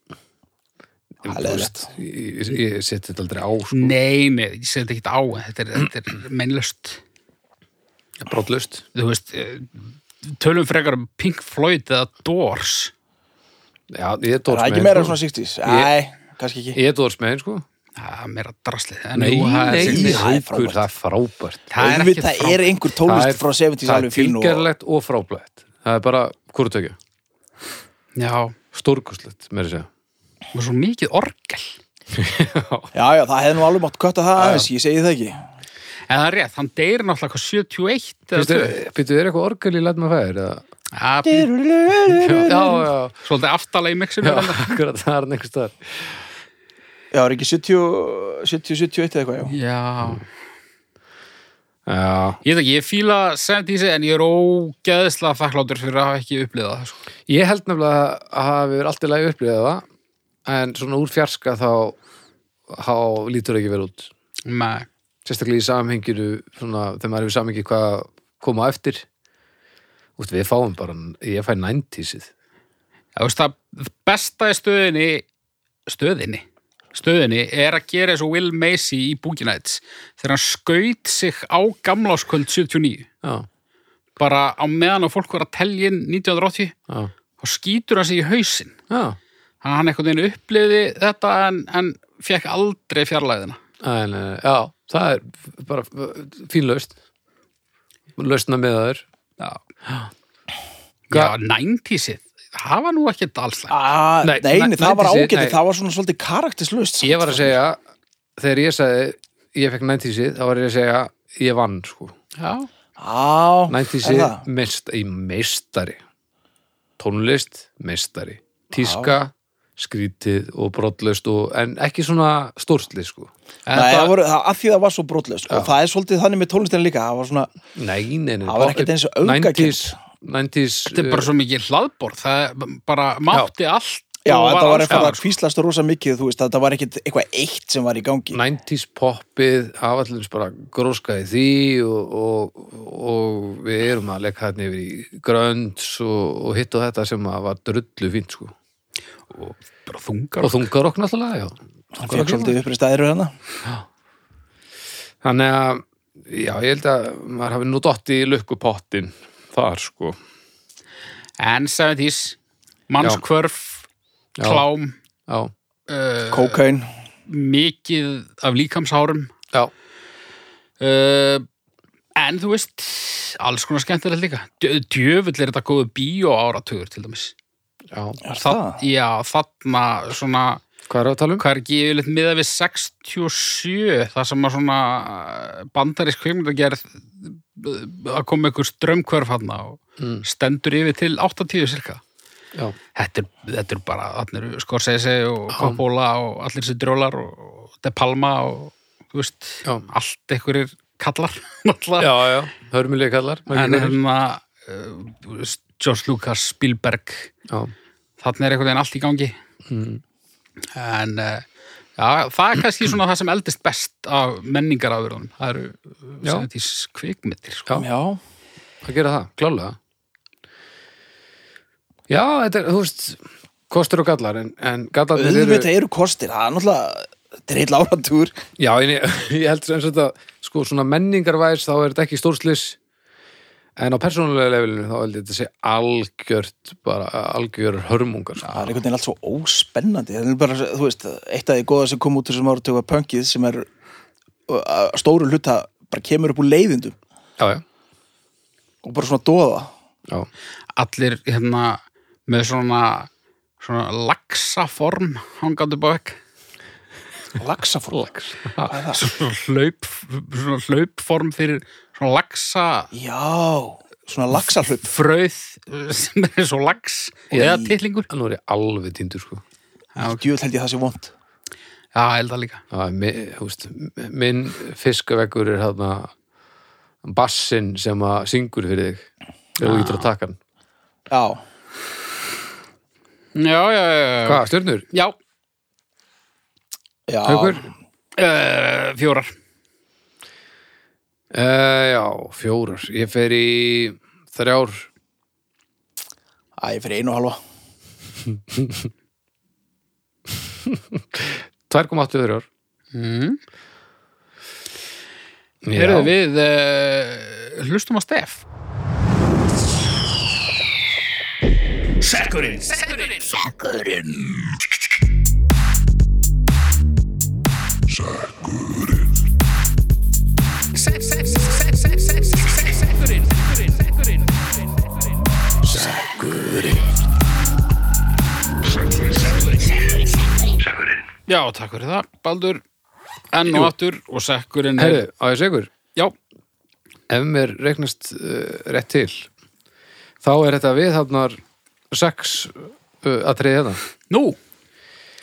Speaker 2: Það er leiðist.
Speaker 3: Ég, ég, ég seti þetta aldrei á, sko,
Speaker 1: Nei, nei, ég segi þetta ekkert á, en þetta er, þetta er mennlöst.
Speaker 3: brotlust
Speaker 1: Þú veist, eh, tölum frekar um Pink Floyd eða Doors.
Speaker 3: Já,
Speaker 2: það
Speaker 3: ég er
Speaker 2: er
Speaker 3: dórsmegin
Speaker 2: ekki meira
Speaker 3: sko.
Speaker 2: svona 60s Æ, kannski ekki
Speaker 3: Ég er dórsmegin, sko
Speaker 1: Það er meira draslið. En
Speaker 3: Nei,
Speaker 1: jú, það er
Speaker 3: nei,
Speaker 1: sexy.
Speaker 2: nei, það er
Speaker 3: haukur,
Speaker 2: frábært.
Speaker 3: það er frábært
Speaker 1: Það er
Speaker 2: Auðvitað
Speaker 1: ekkert frá-
Speaker 2: er einhver
Speaker 3: Það
Speaker 2: tónlist
Speaker 3: er-
Speaker 2: frá 70s
Speaker 3: Það er
Speaker 2: alveg fín og
Speaker 3: tilgerlegt og frábært Það er bara hvortökja,
Speaker 1: Já,
Speaker 3: stórkustlegt, meira að segja
Speaker 1: og svo mikið orgel.
Speaker 2: já, já, það hefði nú alveg mátt kötta það aðeins, ég segi það ekki
Speaker 1: En það er rétt, hann deyr náttúrulega hvað, 71 eða
Speaker 3: Býttu,
Speaker 1: 72.
Speaker 3: býttu, er eitthvað orgel í Læt maður fæðir?
Speaker 1: Já, býr-
Speaker 3: Já, já,
Speaker 1: Svolítið aftalega í mixinu.
Speaker 3: já, akkurat, það er hann einhvers staðar
Speaker 2: Já, er ekki 70, 70 71 eða eitthvað, já
Speaker 1: Já,
Speaker 3: Já,
Speaker 1: ég veit ekki, ég fíla 70s en ég er ógeðslega þakkláttur fyrir að hafa ekki upplifað það. Sko.
Speaker 3: Ég held nefnilega að hafi verið allt í lagi upplýðað það en svona úr fjarska þá, þá lítur það ekki vel út
Speaker 1: Nei,
Speaker 3: sérstaklega í samhenginu svona, þegar maður hefur samhengi hvað koma á eftir Úst, við fáum bara, ég fæ næntísið
Speaker 1: þú veist það besta í stöðinni, stöðinni, stöðinni er að gera eins og Will Macy í Boogie Nights þegar hann skaut sig á gamláskvöld 79.
Speaker 3: Já,
Speaker 1: Bara á meðan og fólk var að telja inn 1980
Speaker 3: já,
Speaker 1: og skýtur hann sig í hausinn.
Speaker 3: já
Speaker 1: Hann, hann einhvern veginn upplifði þetta en, en fekk aldrei fjarlæðina.
Speaker 3: en, eh, já, það er bara fín laust lausna með þaður
Speaker 1: Já,
Speaker 3: Hva-
Speaker 1: Já 90-sið, það var nú ekkert alls slæmt.
Speaker 2: Ah,
Speaker 3: Nei,
Speaker 2: nei, nei,
Speaker 3: nei,
Speaker 2: það var
Speaker 3: 90s,
Speaker 2: ágætið,
Speaker 3: nei.
Speaker 2: það var svona svolítið karakterslust
Speaker 3: Ég var að segja, þegar ég sagði ég fekk næntísið, þá var ég að segja ég vann, sko
Speaker 1: Já.
Speaker 2: Á, er
Speaker 3: 90s
Speaker 2: það?
Speaker 3: mest, í meistari tónlist, meistari tíska, skrítið og brotlust og, en ekki svona stórsli sko
Speaker 2: Nei,
Speaker 1: Þetta-
Speaker 2: það voru, það, að því það var svo brotlust og það er svolítið þannig með tónlistina líka það var svona,
Speaker 3: nei, nei, nei,
Speaker 2: Það var ekkert eins og
Speaker 3: 90s, 90s
Speaker 1: Þetta er bara svo mikið hlaðborð, það er bara mátti allt
Speaker 2: já,
Speaker 1: og
Speaker 2: þetta var
Speaker 1: alls
Speaker 2: eitthvað
Speaker 1: konar,
Speaker 2: að kvíslast rosa mikið, þú veist, þetta var ekkit eitthvað eitt sem var í gangi
Speaker 3: 90s poppið afallins bara gróskaði því og, og, og við erum að leika þarna yfir í grönds og, og hitt og þetta sem að var drullu fínt sko
Speaker 1: sko. bara þungar
Speaker 3: og þungarokk náttúrulega, já
Speaker 2: hann fekk svolítið uppreist hérna. aðeiru hana
Speaker 3: Þannig að, já, ég held að maður hafi nú dott í lukkupottin þar, sko.
Speaker 1: en 70s, mannskvörf
Speaker 3: Já.
Speaker 1: klám,
Speaker 3: Já,
Speaker 2: Eh,
Speaker 1: uh,
Speaker 2: kókain,
Speaker 1: mikið af líkamsárum
Speaker 3: já,
Speaker 1: uh, en þú veist alls konar skemmtilegt líka Djö- djöfull er þetta góðu bíó áratugur til dæmis
Speaker 3: já.
Speaker 2: er það?
Speaker 1: já, þarna svona
Speaker 3: Hvað er að tala um?
Speaker 1: hvað er ekki yfirleitt miða við 67 það sem að svona eh, bandarísk kvikmyndagerð eh, að koma einhver strömmkvörf hann og
Speaker 3: Mm.
Speaker 1: stendur yfir til 80 cirka
Speaker 3: Já,
Speaker 1: þetta er, þetta er bara, þarna eru Scorsese og Coppola og allir sér drjólar og De Palma og þú veist,
Speaker 3: Já.
Speaker 1: allt einhverjir kallar náttúrulega
Speaker 3: já, já, hörmulega kallar. maður
Speaker 1: en
Speaker 3: ekki kallar.
Speaker 1: hérna eh, þú veist, George Lucas, Spielberg
Speaker 3: Já,
Speaker 1: þarna er einhvern veginn allt í gangi
Speaker 3: Mm.
Speaker 1: en uh, já, það er kannski svona það sem eldist best af menningarafurðunum það eru
Speaker 3: Já.
Speaker 1: sem þetta í kvikmyndir sko.
Speaker 3: Já.
Speaker 2: já,
Speaker 3: að gera það, klálega. Já, þetta er, þú veist, kostur og gallar, en, en gallarnir eru...
Speaker 2: auðvitað eru kostir það er náttúrulega, þetta er heil áratúr
Speaker 3: Já, en ég, ég held sem þetta, sko, svona menningarvæs, þá er þetta ekki stórslis, en á persónulega levelinu, þá held ég þetta sé algjört, bara algjör hörmungar, sko.
Speaker 2: það er einhvern veginn allt svo óspennandi það er bara, þú veist, eitt af því góða sem kom út úr þessum áratöku var pönkið sem er uh, að stóru hluta bara kemur upp úr leiðindum
Speaker 3: Já, já,
Speaker 2: og bara svona dóða
Speaker 3: já.
Speaker 1: allir hérna með svona, svona laxaform hangandi bak
Speaker 2: laxafrú
Speaker 3: Lags.
Speaker 1: svona, hlaup, svona hlaupform fyrir svona laxa
Speaker 2: já, svona laxahlaup
Speaker 1: fröð eh, sem er svo lax eða titlingur
Speaker 3: Nú er ég alveg tindur sko
Speaker 1: já, ok.
Speaker 2: djúvel held ég það sé vond
Speaker 1: já, ég held að líka
Speaker 3: Það er mi- þú veist, Minn fiskaveggur er þarna bassinn sem að syngur fyrir þig þegar þú getur að taka hann
Speaker 2: já,
Speaker 1: Já, já, já, já.
Speaker 3: Hvað, stjörnur?
Speaker 1: Já,
Speaker 2: Já,
Speaker 3: Haukur?
Speaker 1: uh, fjórar.
Speaker 3: Uh, já, fjórar. Ég fer í þrjár.
Speaker 2: Æ, ég fyrir einu og halva
Speaker 3: 2,8 þrjár.
Speaker 1: Mm.
Speaker 3: Já.
Speaker 1: Herðu við, uh, hlustum á Stef. Já, takk fyrir það, Baldur. Enn og aftur og sekkurinn er...
Speaker 3: Herðu, á ég segur,
Speaker 1: Já,
Speaker 3: ef mér reiknast uh, rétt til, þá er þetta viðhafnar 6 uh, að treyja þetta.
Speaker 1: nú,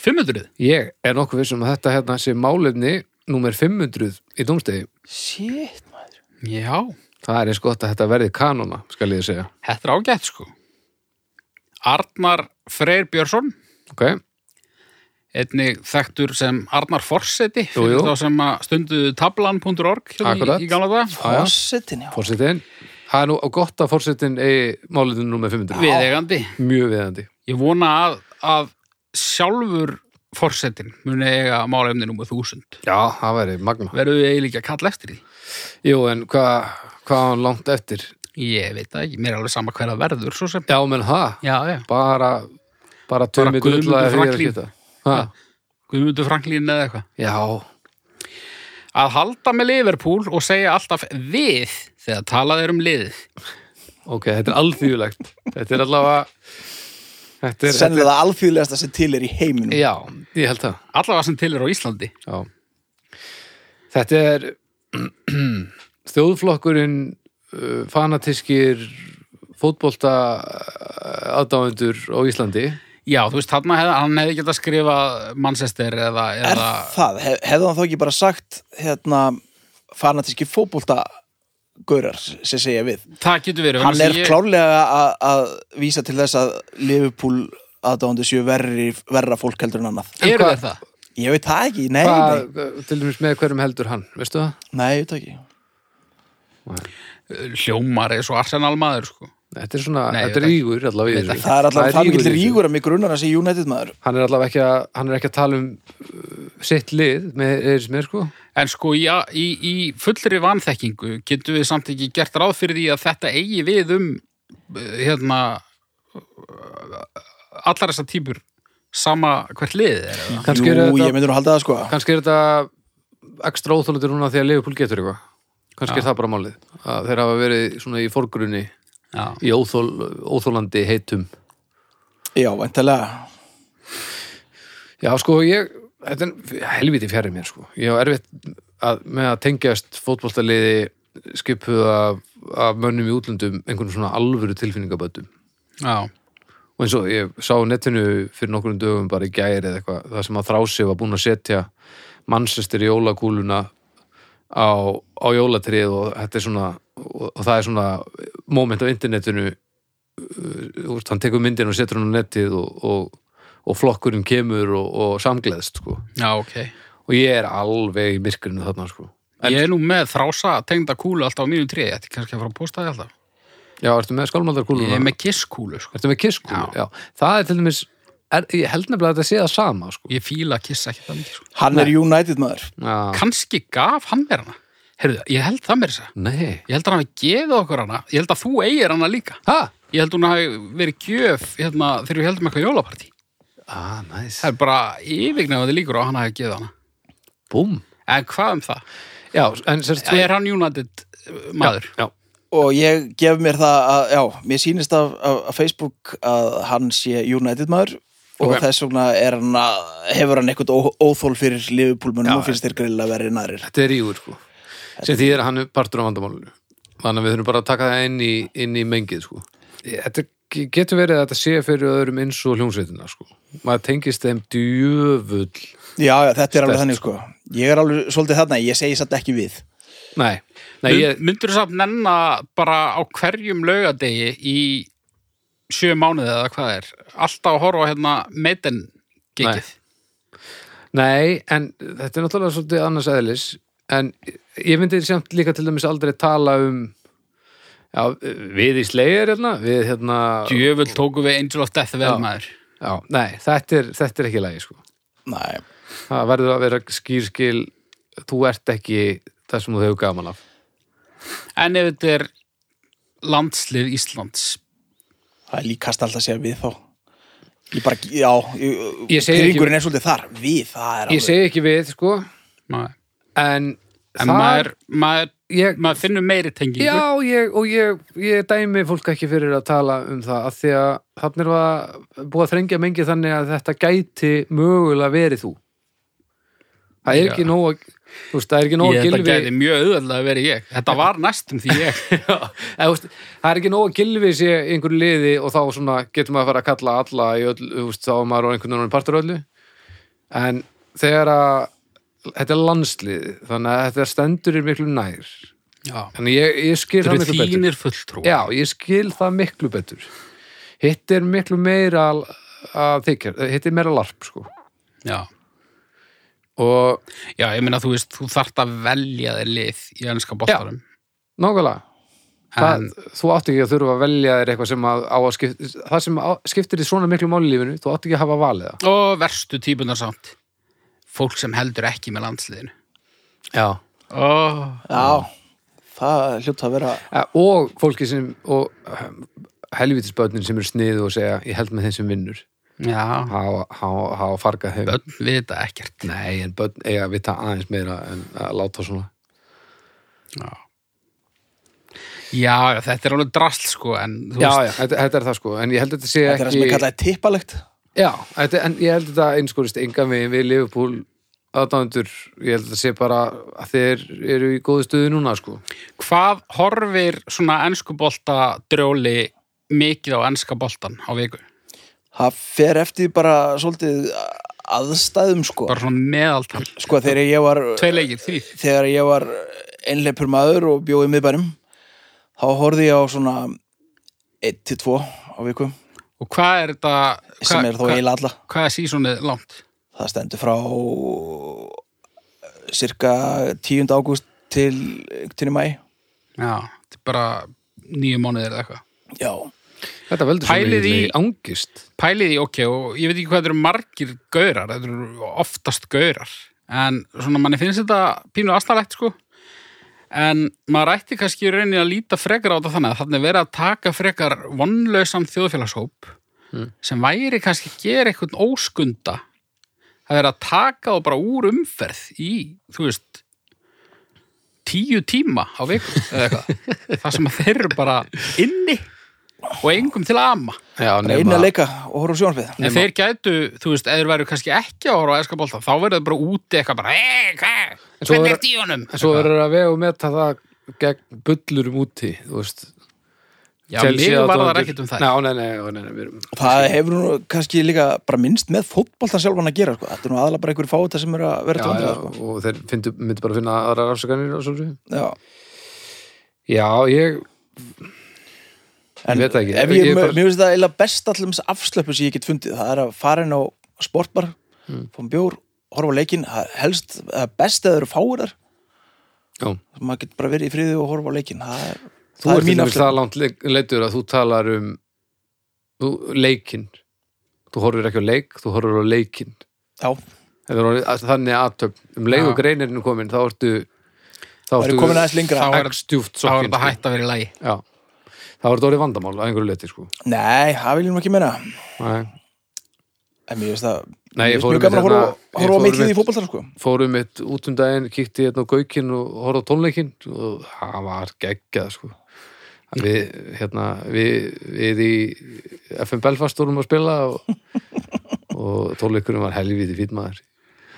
Speaker 1: 500.
Speaker 3: hérna. Ég er nokkuð vissum að þetta hérna sé málefni númer 500 í dómstegi.
Speaker 2: Shit, maður
Speaker 1: Já,
Speaker 3: Það er eins gott að þetta verði kanona, skal ég segja.
Speaker 1: þetta er ágætt sko. Arnar Freyr Björnsson,
Speaker 3: Ok,
Speaker 1: einnig þekktur sem Arnar Forseti,
Speaker 3: Jú, jú.
Speaker 1: fyrir þá sem að stunduðu tablan.org hérna
Speaker 3: Akkurat.
Speaker 1: í, í gamla dag.
Speaker 3: já.
Speaker 2: Fossetin, já
Speaker 3: fórsetin. Það er nú gott að fórsetin eigi málefni númer 500.
Speaker 1: Viðegandi.
Speaker 3: Mjög viðandi.
Speaker 1: Ég vona að, að sjálfur Forsetin muni eiga málefni númer 1000.
Speaker 3: Já, það væri magna.
Speaker 1: Verðu við eiginlega ekki að kalla eftir því?
Speaker 3: Jú, en hvað hva á hann langt eftir?
Speaker 1: Ég veit það ekki, mér er alveg sama hver að verður, svo sem.
Speaker 3: Já, menn það.
Speaker 1: Já, já.
Speaker 3: Bara, bara tömi
Speaker 1: Guðmundur
Speaker 3: dullaði fyrir að
Speaker 1: Franklín.
Speaker 3: geta. Ha?
Speaker 1: Guðmundur Franklín eða eitthvað.
Speaker 3: Já,
Speaker 1: Að halda með Liverpool og segja alltaf við þegar talað er um liðið.
Speaker 3: ok, þetta er alþýðulegt. þetta er allavega... Þetta er...
Speaker 2: Sennilega það alþjóðlegasta sem til er í heiminum
Speaker 3: Já, ég held það.
Speaker 1: Allavega sem til er á Íslandi.
Speaker 3: Já. Þetta er þjóðflokkurinn uh, fanatískir fótbolta uh, aðdáendur á Íslandi.
Speaker 1: Já, þú veist, hann hefði, hann hefði getað skrifað Manchester eða...
Speaker 2: Er
Speaker 1: eða
Speaker 2: það, hef, hefði hann þá ekki bara sagt hérna fanatíski fótbolta gaurar sem segja við
Speaker 1: það getur verið.
Speaker 2: hann
Speaker 1: vegna
Speaker 2: er
Speaker 1: þess að ég-
Speaker 2: klárlega að, að vísa til þess að Liverpool aðdóndu séu verri, verra fólk heldur en annað
Speaker 3: En
Speaker 1: Eru
Speaker 3: hvað-
Speaker 1: þeir það?
Speaker 2: ég veit það ekki, nei,
Speaker 3: Hvað, uh, til dæmis með hverjum heldur hann, veistu það?
Speaker 2: nei, nei ég veit það ekki
Speaker 1: Hljómar er svo Arsenal maður, sko.
Speaker 3: Þetta er svona,
Speaker 1: Nei, ég
Speaker 3: þetta er
Speaker 1: veit
Speaker 3: rígur allavega í
Speaker 1: Veit
Speaker 3: þessu.
Speaker 2: það er allavega það mikill
Speaker 3: í þessu.
Speaker 2: rígur að mig grunar að segja United maður
Speaker 3: Hann er allavega ekki að, hann er ekki að tala um uh, sitt lið með eins með, sko.
Speaker 1: En sko, já, í, í fullri vanþekkingu getum við samt ekki gert ráð fyrir því að þetta eigi við um, eh, hérna, eh, allar þessar típur sama hvert liðið er. eða?
Speaker 3: Kannski
Speaker 2: Jú,
Speaker 3: er
Speaker 2: ég
Speaker 3: þetta,
Speaker 2: myndur nú halda það sko
Speaker 3: kannski er þetta ekstra óþólandi núna því að Leifupúl getur eitthvað. Kannski er það bara málið. Að þeir hafa verið svona í forgrunni
Speaker 1: Já.
Speaker 3: í óþól, óþólandi heitum
Speaker 2: já, væntalega
Speaker 3: Já, sko, ég þetta er helviti fjarið mér, sko ég á erfitt að, með að tengjast fótboltaliði skipuð af, af mönnum í útlöndum einhvern svona alvöru tilfinningaböndum
Speaker 1: Já.
Speaker 3: og eins og ég sá á netinu fyrir nokkrum dögum bara í gæri eða eitthvað, það sem að þrási var búin að setja mannsestir í jólakúluna á, á jólatrið og þetta er svona og, og það er svona moment á internetinu uh, úr, hann tekur myndin og setur hann á netið og, og, og flokkurinn kemur og, og samgleðst sko
Speaker 1: Já, ok.
Speaker 3: og ég er alveg í myrkurinu þarna sko
Speaker 1: Ég er nú með þrása tengda kúlu alltaf á mínu tréi, þetta er kannski að fara að posta það alltaf.
Speaker 3: Já, ertu með skálmaldarkúluna?
Speaker 1: Ég er með kisskúlu, sko.
Speaker 3: Ertu með kisskúlu?
Speaker 1: Já.
Speaker 3: Já. Það er til dæmis er, ég held nefnilega að þetta sé það sama sko
Speaker 1: Ég fíla kiss ekki það mikið, sko.
Speaker 2: hann er United maður
Speaker 3: Já.
Speaker 1: Kannski gaf hann mér hana. Herðu, ég held það mér þess að.
Speaker 3: Nei
Speaker 1: Ég held að hann hafi gefið okkur hana. Ég held að þú eigir hana líka.
Speaker 3: Ha?
Speaker 1: Ég held hún hafi verið gjöf hérna, þegar við heldum eitthvað jólapartí.
Speaker 3: Ah, næs.
Speaker 1: Það er bara yfirgnefandi líkur á að hann hafi gefið hana.
Speaker 3: Búm.
Speaker 1: En hvað um það?
Speaker 3: Já, en sérst
Speaker 1: Er hann United uh, maður?
Speaker 3: Já,
Speaker 2: og ég gef mér það að, já, mér sýnist af, af, af Facebook að hann sé United maður og
Speaker 1: Ok.
Speaker 2: þess vegna er hann að, hefur hann eitthvað ó, óþól fyrir liðupúlmunum
Speaker 3: Já,
Speaker 2: og finnst þér grilla verið nærir
Speaker 3: þetta er rígur sko. Sem því er að hann er partur á vandamálinu. Þannig að við þurfum bara að taka það inn í, inn í mengið sko. Þetta getur verið að þetta sé fyrir öðrum eins og hljómsveitina sko. Maður tengist þeim djöfull.
Speaker 2: já, já, þetta er alveg þannig sko ég er alveg svolítið þarna, ég segi satt ekki við
Speaker 3: Nei, nei
Speaker 1: Nei,
Speaker 3: ég,
Speaker 1: Myndur þú samt nenna bara á hverjum laugadegi í sjö mánuði eða hvað er alltaf að horfa á hérna meiten gengið
Speaker 3: Nei, en þetta er náttúrulega svolítið annars eðlis en ég myndi samt líka til dæmis aldrei tala um já, við í slegir hérna, við hérna
Speaker 1: djöfull tóku við Angel of Death vel
Speaker 3: Já.
Speaker 1: maður
Speaker 3: já, nei, þetta er, þetta er ekki lægi sko.
Speaker 2: Nei,
Speaker 3: það verður að vera skýrskil þú ert ekki það sem þú hefur gaman af
Speaker 1: en ef þetta er landslið Íslands
Speaker 2: það er líkast alltaf að segja við þá Ég bara, já ég-
Speaker 3: Ég segi ekki-
Speaker 2: Pirringurinn er svolítið þar, við, það er
Speaker 3: ég segi ekki við, sko
Speaker 1: maður.
Speaker 3: en,
Speaker 1: en maður, maður,
Speaker 3: ég,
Speaker 1: maður finnur meiri tengingu
Speaker 3: já, ég, og ég, ég dæmi fólk ekki fyrir að tala um það af því að þannig var búið að þrengja mengi þannig að þetta gæti mögulega verið þú það er
Speaker 1: Já.
Speaker 3: ekki nóg að þú veist, það er ekki nóg
Speaker 1: ég
Speaker 3: að
Speaker 1: þetta
Speaker 3: gilvi
Speaker 1: gæti mjög auðvöldlega að vera ég þetta var næstum því ég
Speaker 3: Já, eða, þú veist, það er ekki nóg að gilvi sé í einhverju liði og þá svona getur maður að fara að kalla alla í öll, þú veist, þá er maður á einhvern veginn partur af öllu en þegar að þetta er landslið þannig að þetta stendur er miklu nær
Speaker 1: já.
Speaker 3: þannig ég, ég skil
Speaker 1: þetta
Speaker 3: það
Speaker 1: eru
Speaker 3: miklu betur
Speaker 1: þínir fulltrú
Speaker 3: já, ég skil það miklu betur hitt er miklu meira að- að þykja, hitt er meira larp sko
Speaker 1: já.
Speaker 3: og
Speaker 1: já, ég meina þú veist, þú þart að velja þér lið í ennska bóttarum
Speaker 3: nákvæmlega Það,
Speaker 1: En-
Speaker 3: þú átt ekki að þurfa að velja þér eitthvað sem að, á að skipta, það sem á, skiptir í svona miklu máli í lífinu, þú átt ekki að hafa valið það.
Speaker 1: og verstu típunar samt fólk sem heldur ekki með landsliðinu
Speaker 3: Já.
Speaker 1: oh.
Speaker 2: Já, það hljóta að vera
Speaker 3: Eh, Og fólki sem, og um, helvitisbörnin sem eru sniðu og segja, ég held með þeim sem vinnur,
Speaker 1: já,
Speaker 3: hafa hafa- hafa fargað þeim.
Speaker 1: börn vita ekkert
Speaker 3: Nei, en börn eiga að vita aðeins meira en að láta svona.
Speaker 1: já. já, já, þetta er alveg drasl sko, en þú
Speaker 3: Já,
Speaker 1: veist
Speaker 3: já, þetta, þetta er það sko, en ég held að þetta sé
Speaker 2: Þetta er það sem
Speaker 3: ekki...
Speaker 2: ég kallaði tippalegt
Speaker 3: Já, þetta, en ég held að þetta einskorist engan við, við Liverpool aðdándur, ég held að þetta sé bara að þeir eru í góðu stuðu núna sko.
Speaker 1: hvað horfir svona ennsku bolta drjóli mikið á ennska boltan á viku
Speaker 2: Það fer eftir bara svolítið aðstæðum sko
Speaker 1: bara svona meðaltal,
Speaker 2: Sko þegar ég var
Speaker 1: tvei leikir, þrýr
Speaker 2: þegar ég var einleipur maður og bjóði miðbærum þá horfði ég á svona 1-2 á viku
Speaker 1: og hvað er þetta
Speaker 2: sem
Speaker 1: hvað-
Speaker 2: er þá
Speaker 1: hvað-
Speaker 2: heila alla
Speaker 1: hvað er sísonið langt
Speaker 2: það stendur frá cirka 10. ágúst til til í mæ
Speaker 1: já, þetta er bara nýju mánuðir eða eitthvað
Speaker 2: já,
Speaker 3: Þetta veldur svo
Speaker 1: Pælið
Speaker 3: mikilli
Speaker 1: í-
Speaker 3: angist
Speaker 1: pælið í ok og ég veit ekki hvað þetta eru margir gaurar, þetta eru oftast gaurar en svona manni finnst þetta pínu astanlegt sko en maður ætti kannski í rauninni að líta frekar á þetta þannig að þannig verið að taka frekar vonlausan þjóðfélagshóp sem væri kannski að gera eitthvað óskunda það er að taka og bara úr umferð í, þú veist tíu tíma á viku eða eitthvað það sem að þeir eru bara inni og engum til að ama
Speaker 3: Já,
Speaker 2: bara inn að leika og horfa á sjónarfið
Speaker 1: En þeir gætu, þú veist, eða þeir væru kannski ekki að horfa á æska bólta, þá verður þeir bara úti eitthvað bara, eeeh, hvað,
Speaker 3: En svo
Speaker 1: hvernig
Speaker 3: er-
Speaker 1: er díunum?
Speaker 3: En svo verður að vega og meta það gegn bullurum úti, þú veist
Speaker 1: Já, mig var það ekkert um það.
Speaker 3: Ná, nei, nei, nei, nei, nei, við erum
Speaker 2: það hefur nú kannski líka bara minnst með fótbolta sjálfan að gera sko. þetta er nú aðalega bara einhverju fáta sem eru að vera
Speaker 3: Já,
Speaker 2: til
Speaker 3: já,
Speaker 2: vandræða sko.
Speaker 3: og þeir fyndu, myndu bara að finna aðra rafsakanir og svolítið.
Speaker 2: Já.
Speaker 3: Já, ég,
Speaker 2: en
Speaker 3: Ég veit það ekki.
Speaker 2: ef ég,
Speaker 3: Ég
Speaker 2: ég
Speaker 3: bara-
Speaker 2: mér finnst það eila best allums afslöpu sem ég get fundið, það er að fara inn á sportbar,
Speaker 3: Hmm.
Speaker 2: fá um bjór horfa á leikinn, það er helst það er best eða eru fáir þar
Speaker 3: já
Speaker 2: maður getur bara verið í friði og horfa á leikinn það er,
Speaker 3: Þú
Speaker 2: það
Speaker 3: ert
Speaker 2: er mín
Speaker 3: þetta við
Speaker 2: afslöpu
Speaker 3: það langt leik- leiddur að þú talar um þú, leikinn Þú horfir ekki á leik, þú horfir á leikinn
Speaker 2: já,
Speaker 3: Þetta er orðið- að- Þannig aðtöfn um leik
Speaker 1: Já.
Speaker 3: og greinirinn er komin, þá ertu þá
Speaker 2: það eru komin aðeins lengra
Speaker 1: Þá er-
Speaker 3: ekstjúft
Speaker 1: Þá er
Speaker 3: sokkin sko.
Speaker 1: þetta hætt að vera í lagi.
Speaker 3: Já, það var þetta orðið vandamál að einhverju leti sko
Speaker 2: nei, það vil ég nú ekki meina
Speaker 3: Nei,
Speaker 2: en mér finnst það
Speaker 3: Nei,
Speaker 2: mér
Speaker 3: ég
Speaker 2: finnst
Speaker 3: fór
Speaker 2: mjög gaman að
Speaker 3: einmitt
Speaker 2: horfa á-
Speaker 3: hérna- ég
Speaker 2: horfa
Speaker 3: fór
Speaker 2: á mitt lið í
Speaker 3: einmitt-
Speaker 2: fótbolta sko.
Speaker 3: fórum mitt út um daginn, kíkti hérna á gaukinn og horfði á tónleikinn og það var geggjað sko. Við, hérna, við, við í FM Belfast vorum að spila og, og tónleikurinn var helviti fýt maður.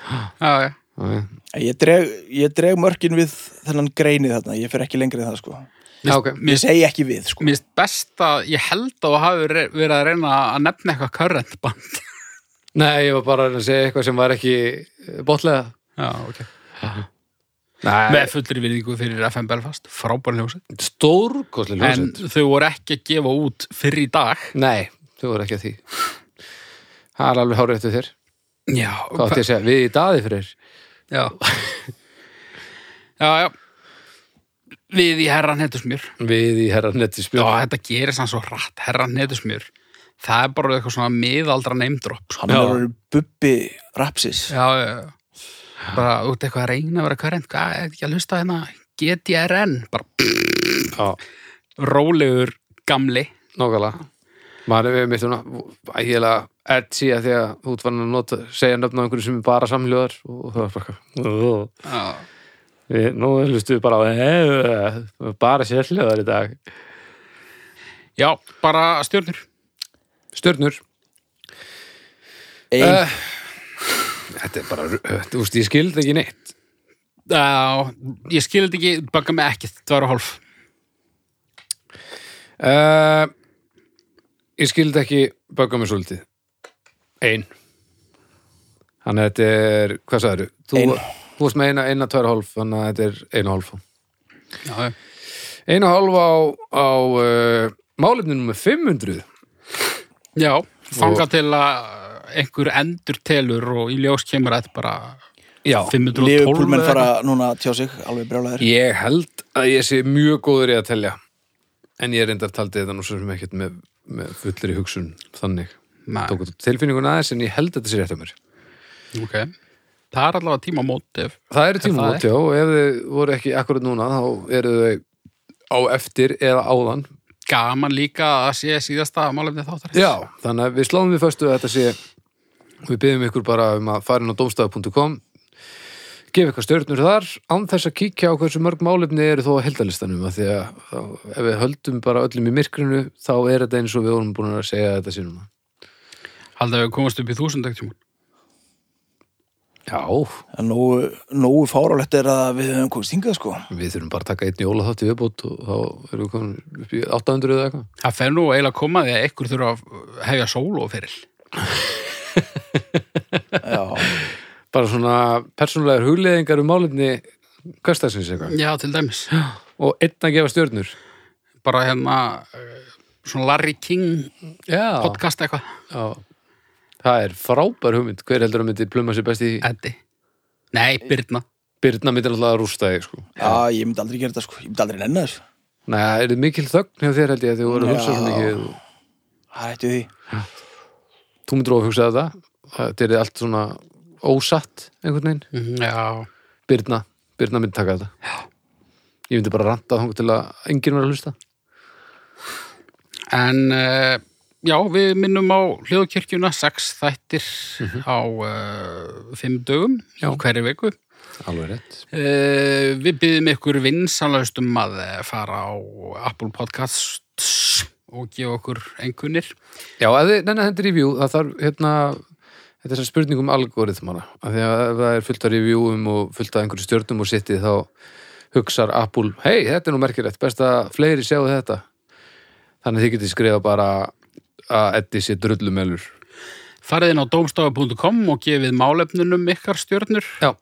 Speaker 1: Já, já.
Speaker 3: Já,
Speaker 2: ég dreg, ég dreg mörkin við þennan greini þarna, ég fer ekki lengri en það sko.
Speaker 3: Já, ok.
Speaker 2: ég segi ekki við sko.
Speaker 1: Mér finnst best að, ég held að þú hafi re- verið að reyna að nefna eitthvað current band.
Speaker 3: eh, Nei, ég var bara að reyna að segja eitthvað sem var ekki botlega.
Speaker 1: Já, ok. með fullri virðingu fyrir FM Belfast, frábær hljóset
Speaker 3: stórkoslega
Speaker 1: en
Speaker 3: hljómsveit.
Speaker 1: þau voru ekki að gefa út fyrir í dag
Speaker 3: Nei, þú voru ekki að því Það er alveg hárið eftir þér
Speaker 1: já,
Speaker 3: Hvað átti ég að segja, við í daði fyrir
Speaker 1: já. já, já við í herran heitur smjör
Speaker 3: Við í herra netti
Speaker 1: já,
Speaker 3: spjóð
Speaker 1: þetta gerist hann svo rætt, herran heitur smjör það er bara eitthvað svona miðaldra neymdrop
Speaker 2: Hann
Speaker 3: Já.
Speaker 2: er orðið bubbi rapsis.
Speaker 1: já, já, já bara út eitthvað að reyna að vera hverjent hvað, er ekki að hlusta á hérna GTRN, bara rólegur gamli
Speaker 3: Nókala Maður er við mitt svona ægilega edsi að því að þú ert vann að nota, segja nöfn á einhverju sem er bara samljóðar og það er bara eitthvað.
Speaker 1: já,
Speaker 3: Við- Nú hlustu við bara á eh, bara sérljóðar í dag
Speaker 1: já bara stjórnur
Speaker 3: Stjörnur
Speaker 2: Ein,
Speaker 3: Eh, Þetta er bara, þú veist, ég skildi ekki neitt
Speaker 1: Já, ég skil þetta ekki, baka mig ekki, tvær og hálf.
Speaker 3: uh, Ég skildi ekki bögga mig svolítið Ein Þannig að þetta er, hvað sagðirðu? Þú,
Speaker 2: Ein.
Speaker 3: þú varst með eina, eina, tvær og hálf Þannig að þetta er eina og hálf
Speaker 1: Já,
Speaker 3: Eina og hálf á, á uh, málefni nummer 500
Speaker 1: já þanga til að einhver endur telur og í ljós kemur að þetta bara
Speaker 3: Já
Speaker 1: 512.
Speaker 2: Liverpool-menn
Speaker 1: eða
Speaker 2: fara núna að tjá sig, alveg brjálæðir.
Speaker 3: Ég held að ég sé mjög góður í að telja En ég reyndar taldi þetta nú svo sem ekkert með, með fullri hugsun þannig
Speaker 1: Nei.
Speaker 3: Tók þetta tilfinninguna aðeins en ég held að þetta sé rétt að mér
Speaker 1: eitthvað. Ok, það er allavega tíma mót ef...
Speaker 3: Það eru
Speaker 1: það
Speaker 3: tímamót, já, og ef þau voru ekki akkurat núna, þá eru þau á eftir eða áðan.
Speaker 1: Gaman líka að sé síðasta málefni þáttar.
Speaker 3: Já, þannig að við sláum við föstu að þetta sé, við byggjum ykkur bara um að fara inn á domstafu.com, gefa ykkur stjörnur þar, án þess að kíkja á hversu mörg málefni eru þó að heldalistanum, að því að þá- ef við höldum bara öllum í myrkrinu, þá er þetta eins og við vorum búin að segja þetta sínum.
Speaker 1: Haldið að við komast upp í þúsund ekkert tíma.
Speaker 3: Já,
Speaker 2: En nógu, nógu fárálegt er að við höfum komist hingað, sko.
Speaker 3: við þurfum bara að taka einn jólaþátt í viðbót og þá erum við komin upp í 800 eða eitthvað.
Speaker 1: Það fer nú eiginlega að koma því að einhver þurfa að hefja sóló fyrir.
Speaker 2: Já,
Speaker 3: bara svona persónulegar hugleðingar um málefni hverstaðsins eitthvað
Speaker 1: Já, til dæmis.
Speaker 3: og einn að gefa stjörnur
Speaker 1: Bara hérna, eh, svona Larry King
Speaker 3: já,
Speaker 1: podcast eitthvað.
Speaker 3: já. það er frábær hugmynd hver heldur að myndi pluma sér best í
Speaker 1: Eddi. Nei, Birna.
Speaker 3: Birna myndi náttúrulega rústa þig sko.
Speaker 2: já, ég myndi aldrei gera þetta, sko. Ég myndi aldrei nenni þessu.
Speaker 3: Nei, það eru mikil þögn hjá þér held ég að þið voru að hugsa
Speaker 2: Já.
Speaker 3: svona ekki og
Speaker 2: Það hættu því.
Speaker 3: þú myndir of hugsa þetta þetta er allt svona ósatt einhvern veginn,
Speaker 1: Mhm, Já,
Speaker 3: Birna Birna myndi taka þetta já. ég myndi bara ranta þangur til að enginn var að hlusta
Speaker 1: En uh, já, við minnum á hljóðkirkjuna sex þættir á uh, fimm dögum Mhm. já. hverju viku.
Speaker 3: alveg rétt
Speaker 1: Uh, við byggum ykkur vinsanlaust um að eh, fara á Apple Podcasts og gefa okkur einhvernir.
Speaker 3: Já, ef þið, neina, þetta review, það þarf, hérna, þetta er sem spurning um algoritmana, af því að ef það er fullt af reviewum og fullt af einhverju stjörnum og sittið þá hugsar Apple, hei, þetta er nú merkilegt, best að fleiri sjáu þetta. Þannig að þið getið skrifa bara að Eddi sé drullumelur.
Speaker 1: Farið inn á domstofa.com og gefið málefnunum ykkar stjörnur
Speaker 3: Já,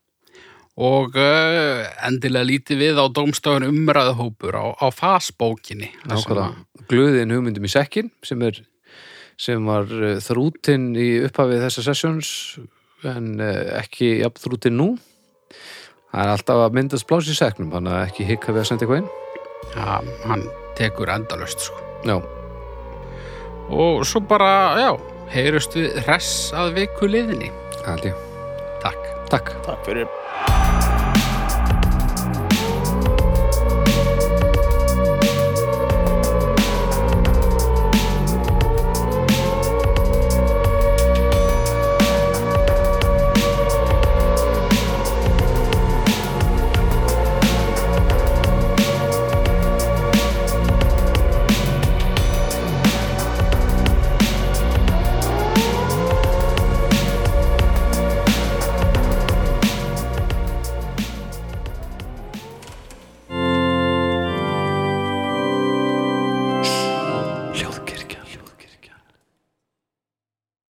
Speaker 1: og uh, endilega lítið við á domstofan umræðhópur á, á fasbókinni. þar sem
Speaker 3: nákvæmlega.
Speaker 1: að-
Speaker 3: Glöðin hugmyndum í sekkin, sem er, sem var eh, þrútin í upphafið þessa sessions, en eh, ekki jafn þrútin nú. Það er alltaf að myndast pláss í seknum, þannig að ekki hikka við að senda eitthvað inn.
Speaker 1: Já, hann tekur endalaust sko.
Speaker 3: Já,
Speaker 1: og svo bara, já, heyrust við hress að viku liðinni.
Speaker 3: það held ég.
Speaker 1: Takk.
Speaker 3: Takk.
Speaker 2: Takk fyrir.